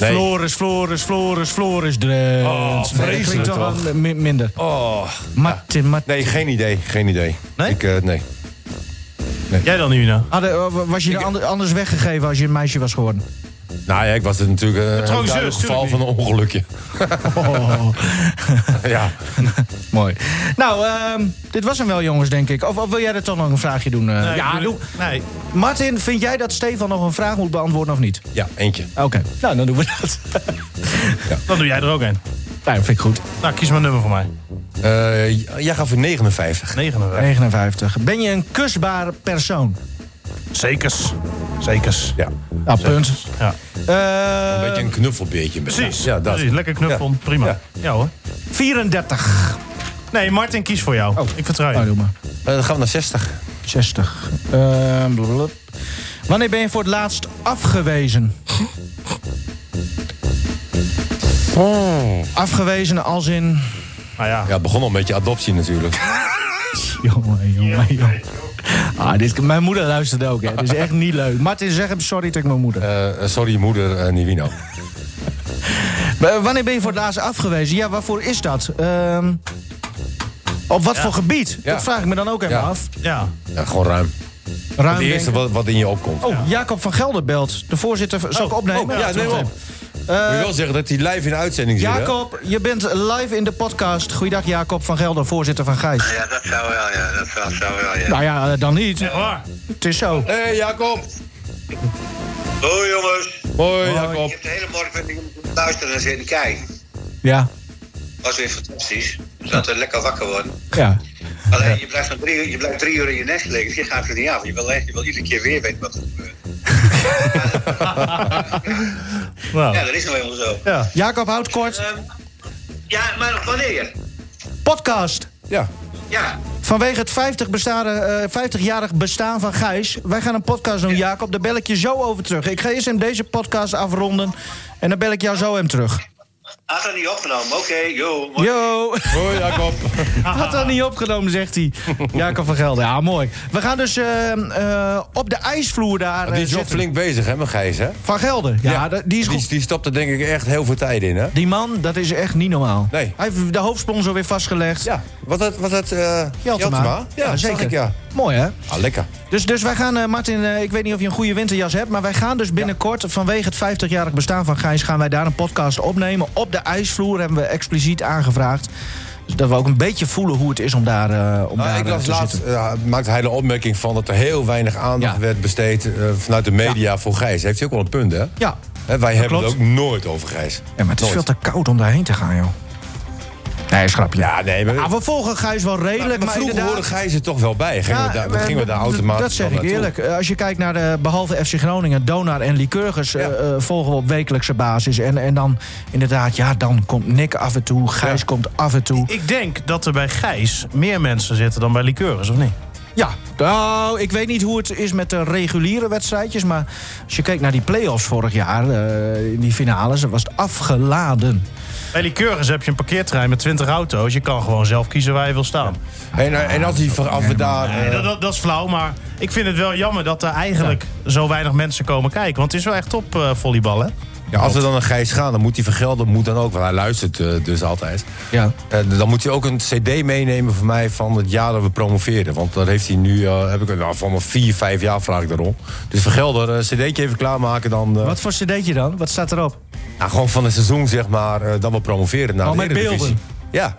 Speaker 3: Nee.
Speaker 2: Floris, Floris, Floris, Floris, Drents.
Speaker 3: Oh,
Speaker 2: Nee,
Speaker 3: vreselijk
Speaker 2: klinkt toch wel
Speaker 3: toch?
Speaker 2: mi- minder.
Speaker 3: Oh,
Speaker 2: Martin, Martin.
Speaker 3: nee, geen idee, geen idee.
Speaker 4: Nee?
Speaker 3: Ik, eh, nee.
Speaker 4: Jij dan, Nina?
Speaker 2: Hadden- eh, was je er ander- anders weggegeven als je een meisje was geworden?
Speaker 3: Nou ja, ik was het natuurlijk eh, een
Speaker 4: Trouwens,
Speaker 3: duidelijk
Speaker 4: tuurlijk
Speaker 3: geval van een ongelukje.
Speaker 2: Oh.
Speaker 3: ja.
Speaker 2: Mooi. Nou, ehm, dit was hem wel, jongens, denk ik. Of, of wil jij er toch nog een vraagje doen? eh?
Speaker 4: Nee,
Speaker 2: ja,
Speaker 4: ik-
Speaker 2: doe.
Speaker 4: Nee.
Speaker 2: Martin, vind jij dat Stefan nog een vraag moet beantwoorden of niet?
Speaker 3: ja, eentje.
Speaker 2: Oké, nou, dan doen we dat.
Speaker 4: Dan doe jij er ook een.
Speaker 2: nou, vind ik goed.
Speaker 4: Nou, kies maar een nummer voor mij.
Speaker 3: Eh, j- jij gaat voor 59.
Speaker 4: 59.
Speaker 2: 59. Ben je een kusbare persoon?
Speaker 4: Zekers. Zekers.
Speaker 3: Ja.
Speaker 2: Nou, punt.
Speaker 4: Ja.
Speaker 2: Eh,
Speaker 3: Een beetje een knuffelbeertje. ben je.
Speaker 4: Precies.
Speaker 3: Ja, dat.
Speaker 4: Precies. Lekker knuffel.
Speaker 3: Ja.
Speaker 4: Prima. Ja.
Speaker 3: Ja.
Speaker 4: hoor.
Speaker 2: 34.
Speaker 4: Nee, Martin, kies voor jou.
Speaker 2: Oh.
Speaker 4: Ik vertrouw je.
Speaker 2: Nou, doe maar.
Speaker 3: Eh, dan gaan we naar 60.
Speaker 2: 60. Eh, blablabla. Wanneer ben je voor het laatst afgewezen?
Speaker 3: Oh.
Speaker 2: Afgewezen als in...
Speaker 4: Nou ja.
Speaker 3: Ja, het begon al met je adoptie natuurlijk.
Speaker 2: Jongen, jongen, jongen. Ah, dit, mijn moeder luistert ook, hè. Het is echt niet leuk. Martin, zeg hem sorry tegen mijn moeder.
Speaker 3: Eh, eh, sorry, moeder eh Nivino.
Speaker 2: Eh, wanneer ben je voor het laatst afgewezen? Ja, waarvoor is dat? Ehm, op wat voor gebied?
Speaker 3: Ja.
Speaker 2: Dat vraag ik me dan ook even
Speaker 3: Ja.
Speaker 2: af.
Speaker 4: ja.
Speaker 3: Ja, gewoon ruim.
Speaker 2: Ruim
Speaker 3: Het eerste
Speaker 2: denken.
Speaker 3: wat, wat in je opkomt.
Speaker 2: Oh, Jacob van Gelder belt. De voorzitter... Zal ik opnemen?
Speaker 3: oh, ja, neem op. Moet je wel zeggen dat hij live in de uitzending zit. hè?
Speaker 2: Eh, Jacob, je bent live in de podcast. Goeiedag Jacob van Gelder, voorzitter van Gijs.
Speaker 6: Ja, dat zou wel, ja. Dat zou, zou wel, ja.
Speaker 2: Nou ja, eh, dan niet.
Speaker 4: Echt waar.
Speaker 2: Het is zo.
Speaker 3: Hé hey, Jacob.
Speaker 6: Hoi jongens.
Speaker 3: Hoi
Speaker 6: Ik
Speaker 3: Jacob.
Speaker 6: heb de hele morgen ben ik luisteren en zitten kijken.
Speaker 2: Ja,
Speaker 6: Was weer fantastisch. We zaten lekker wakker worden.
Speaker 2: ja.
Speaker 6: Alleen, je blijft, nog drie, uur- je blijft drie uur in je nest liggen. dus Je gaat er niet af. Je wil, echt- je wil iedere keer weer weten wat er gebeurt. Ja,
Speaker 4: Nou.
Speaker 6: dat is nou helemaal zo.
Speaker 4: Ja.
Speaker 2: Jacob, houd kort.
Speaker 6: Ehm, ja, maar wanneer?
Speaker 2: Podcast.
Speaker 3: Ja.
Speaker 6: Ja.
Speaker 2: Vanwege het 50 bestaande, eh, 50-jarig bestaan van Gijs. Wij gaan een podcast doen, Jacob. Daar bel ik je zo over terug. Ik ga eerst hem deze podcast afronden. En dan bel ik jou zo hem terug.
Speaker 6: Had dat Ah, niet opgenomen? Oké, joh. yo.
Speaker 2: Yo,
Speaker 3: Hoi Jacob.
Speaker 2: had dat niet opgenomen, zegt hij. Jacob van Gelder, ja, mooi. We gaan dus eh, eh, op de ijsvloer daar
Speaker 3: die
Speaker 2: eh,
Speaker 3: is wel
Speaker 2: zitten.
Speaker 3: flink bezig hè, met Gijs hè?
Speaker 2: Van Gelder, ja,
Speaker 3: Ja.
Speaker 2: dat- die is goed.
Speaker 3: Die, die stopt er denk ik echt heel veel tijd in hè?
Speaker 2: Die man, dat is echt niet normaal.
Speaker 3: Nee.
Speaker 2: Hij heeft de hoofdsponsor weer vastgelegd.
Speaker 3: Ja. Wat dat? Wat dat eh,
Speaker 2: Jeltema.
Speaker 3: Jeltema? Ja,
Speaker 2: Ja,
Speaker 3: zeker.
Speaker 2: zeker.
Speaker 3: ja.
Speaker 2: Mooi, hè?
Speaker 3: Ah, lekker.
Speaker 2: Dus, dus wij gaan, eh, Martin, eh, ik weet niet of je een goede winterjas hebt... maar wij gaan dus binnenkort, vanwege het 50-jarig bestaan van Gijs... gaan wij daar een podcast opnemen. Op de ijsvloer hebben we expliciet aangevraagd. Dus dat we ook een beetje voelen hoe het is om daar, eh om
Speaker 3: Nou,
Speaker 2: daar
Speaker 3: ik
Speaker 2: eh,
Speaker 3: las
Speaker 2: te
Speaker 3: laatst,
Speaker 2: zitten.
Speaker 3: eh, maakte hij de opmerking van dat er heel weinig aandacht
Speaker 2: Ja.
Speaker 3: werd besteed eh, vanuit de media voor Gijs. Heeft hij ook wel een punt, hè?
Speaker 2: Ja.
Speaker 3: Hè, wij hebben
Speaker 2: klopt.
Speaker 3: het ook nooit over Gijs.
Speaker 2: ja, maar het is
Speaker 3: Nooit.
Speaker 2: veel te koud om daarheen te gaan, joh. Nee, is grapje.
Speaker 3: Ja, nee, maar,
Speaker 2: Ah, we volgen Gijs wel redelijk, maar,
Speaker 3: maar Nou, vroeger
Speaker 2: inderdaad...
Speaker 3: hoorde Gijs er toch wel bij. Gingen we daar,
Speaker 2: eh,
Speaker 3: gingen we daar
Speaker 2: d- d-
Speaker 3: automatisch
Speaker 2: Dat zeg
Speaker 3: wel
Speaker 2: ik
Speaker 3: naartoe.
Speaker 2: eerlijk. Eh, Als je kijkt naar de, behalve FC Groningen, Donar en Lycurgus... eh, eh, volgen we op wekelijkse basis. En, en dan inderdaad, ja, dan komt Nick af en toe. Gijs komt af en toe.
Speaker 4: Ik denk dat er bij Gijs meer mensen zitten dan bij Liqueurs, of niet?
Speaker 2: Ja, nou, ik weet niet hoe het is met de reguliere wedstrijdjes... maar als je kijkt naar die play-offs vorig jaar, eh, in die finales... dan was het afgeladen.
Speaker 4: Bij Liqueurs heb je een parkeerterrein met 20 auto's. Je kan gewoon zelf kiezen waar je wil staan.
Speaker 3: En, eh, en als, die, ver- als we daar... eh,
Speaker 4: Nee, dat, dat, dat is flauw, maar ik vind het wel jammer dat er eigenlijk zo weinig mensen komen kijken. Want het is wel echt top eh volleybal, hè?
Speaker 3: ja, als we dan naar Gijs gaan, dan moet hij vergelden. Moet dan ook, want hij luistert eh, dus altijd.
Speaker 2: Ja.
Speaker 3: Eh, dan moet hij ook een cd meenemen van mij van het jaar dat we promoveerden. Want dat heeft hij nu, eh, heb ik nou, van mijn vier, vijf jaar vraag ik daarom. Dus vergelder, een cd'tje even klaarmaken dan... eh,
Speaker 2: Wat voor cd'tje dan? Wat staat erop?
Speaker 3: Nou, gewoon van het seizoen, zeg maar, eh, dan we promoveren naar
Speaker 2: Oh,
Speaker 3: de
Speaker 2: met
Speaker 3: Eredivisie.
Speaker 2: beelden?
Speaker 3: Ja, met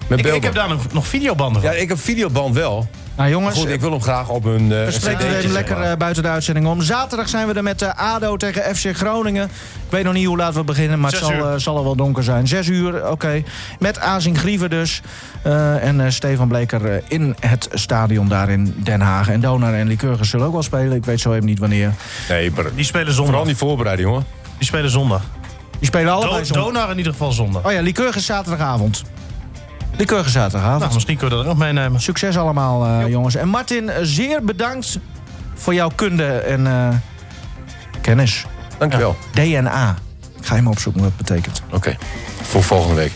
Speaker 4: Ik,
Speaker 3: beelden.
Speaker 4: ik heb daar nog, nog videobanden van.
Speaker 3: Ja, ik heb videoband wel.
Speaker 2: Nou jongens,
Speaker 3: Goed, ik wil hem graag op een eh,
Speaker 2: We spreken
Speaker 3: cd'tje,
Speaker 2: het even
Speaker 3: zeg
Speaker 2: lekker
Speaker 3: maar.
Speaker 2: eh, buiten de uitzending om. Zaterdag zijn we er met eh, ADO tegen FC Groningen. Ik weet nog niet hoe laat we beginnen, maar het
Speaker 4: Zes
Speaker 2: zal,
Speaker 4: uur.
Speaker 2: eh, zal al wel donker zijn. Zes uur, oké. Met Azing Grieven dus. Eh, en eh, Stefan Bleker eh, in het stadion daar in Den Haag. En Donar en Lycurgus zullen ook wel spelen. Ik weet zo even niet wanneer.
Speaker 3: Nee, maar
Speaker 4: Die spelen
Speaker 3: vooral
Speaker 4: zondag.
Speaker 3: die voorbereiding, hoor.
Speaker 4: Die spelen zondag.
Speaker 2: Die spelen allebei
Speaker 4: Do
Speaker 2: zondag.
Speaker 4: Donar in ieder geval zondag.
Speaker 2: Oh ja, Lycurgus zaterdagavond. Lycurgus zaterdagavond.
Speaker 4: Nou, misschien kunnen we dat ook meenemen.
Speaker 2: Succes allemaal, eh, jongens. En Martin, eh, zeer bedankt voor jouw kunde en eh, kennis.
Speaker 3: Dankjewel.
Speaker 2: DNA. Ga je maar opzoeken wat het betekent.
Speaker 3: Oké, voor volgende week.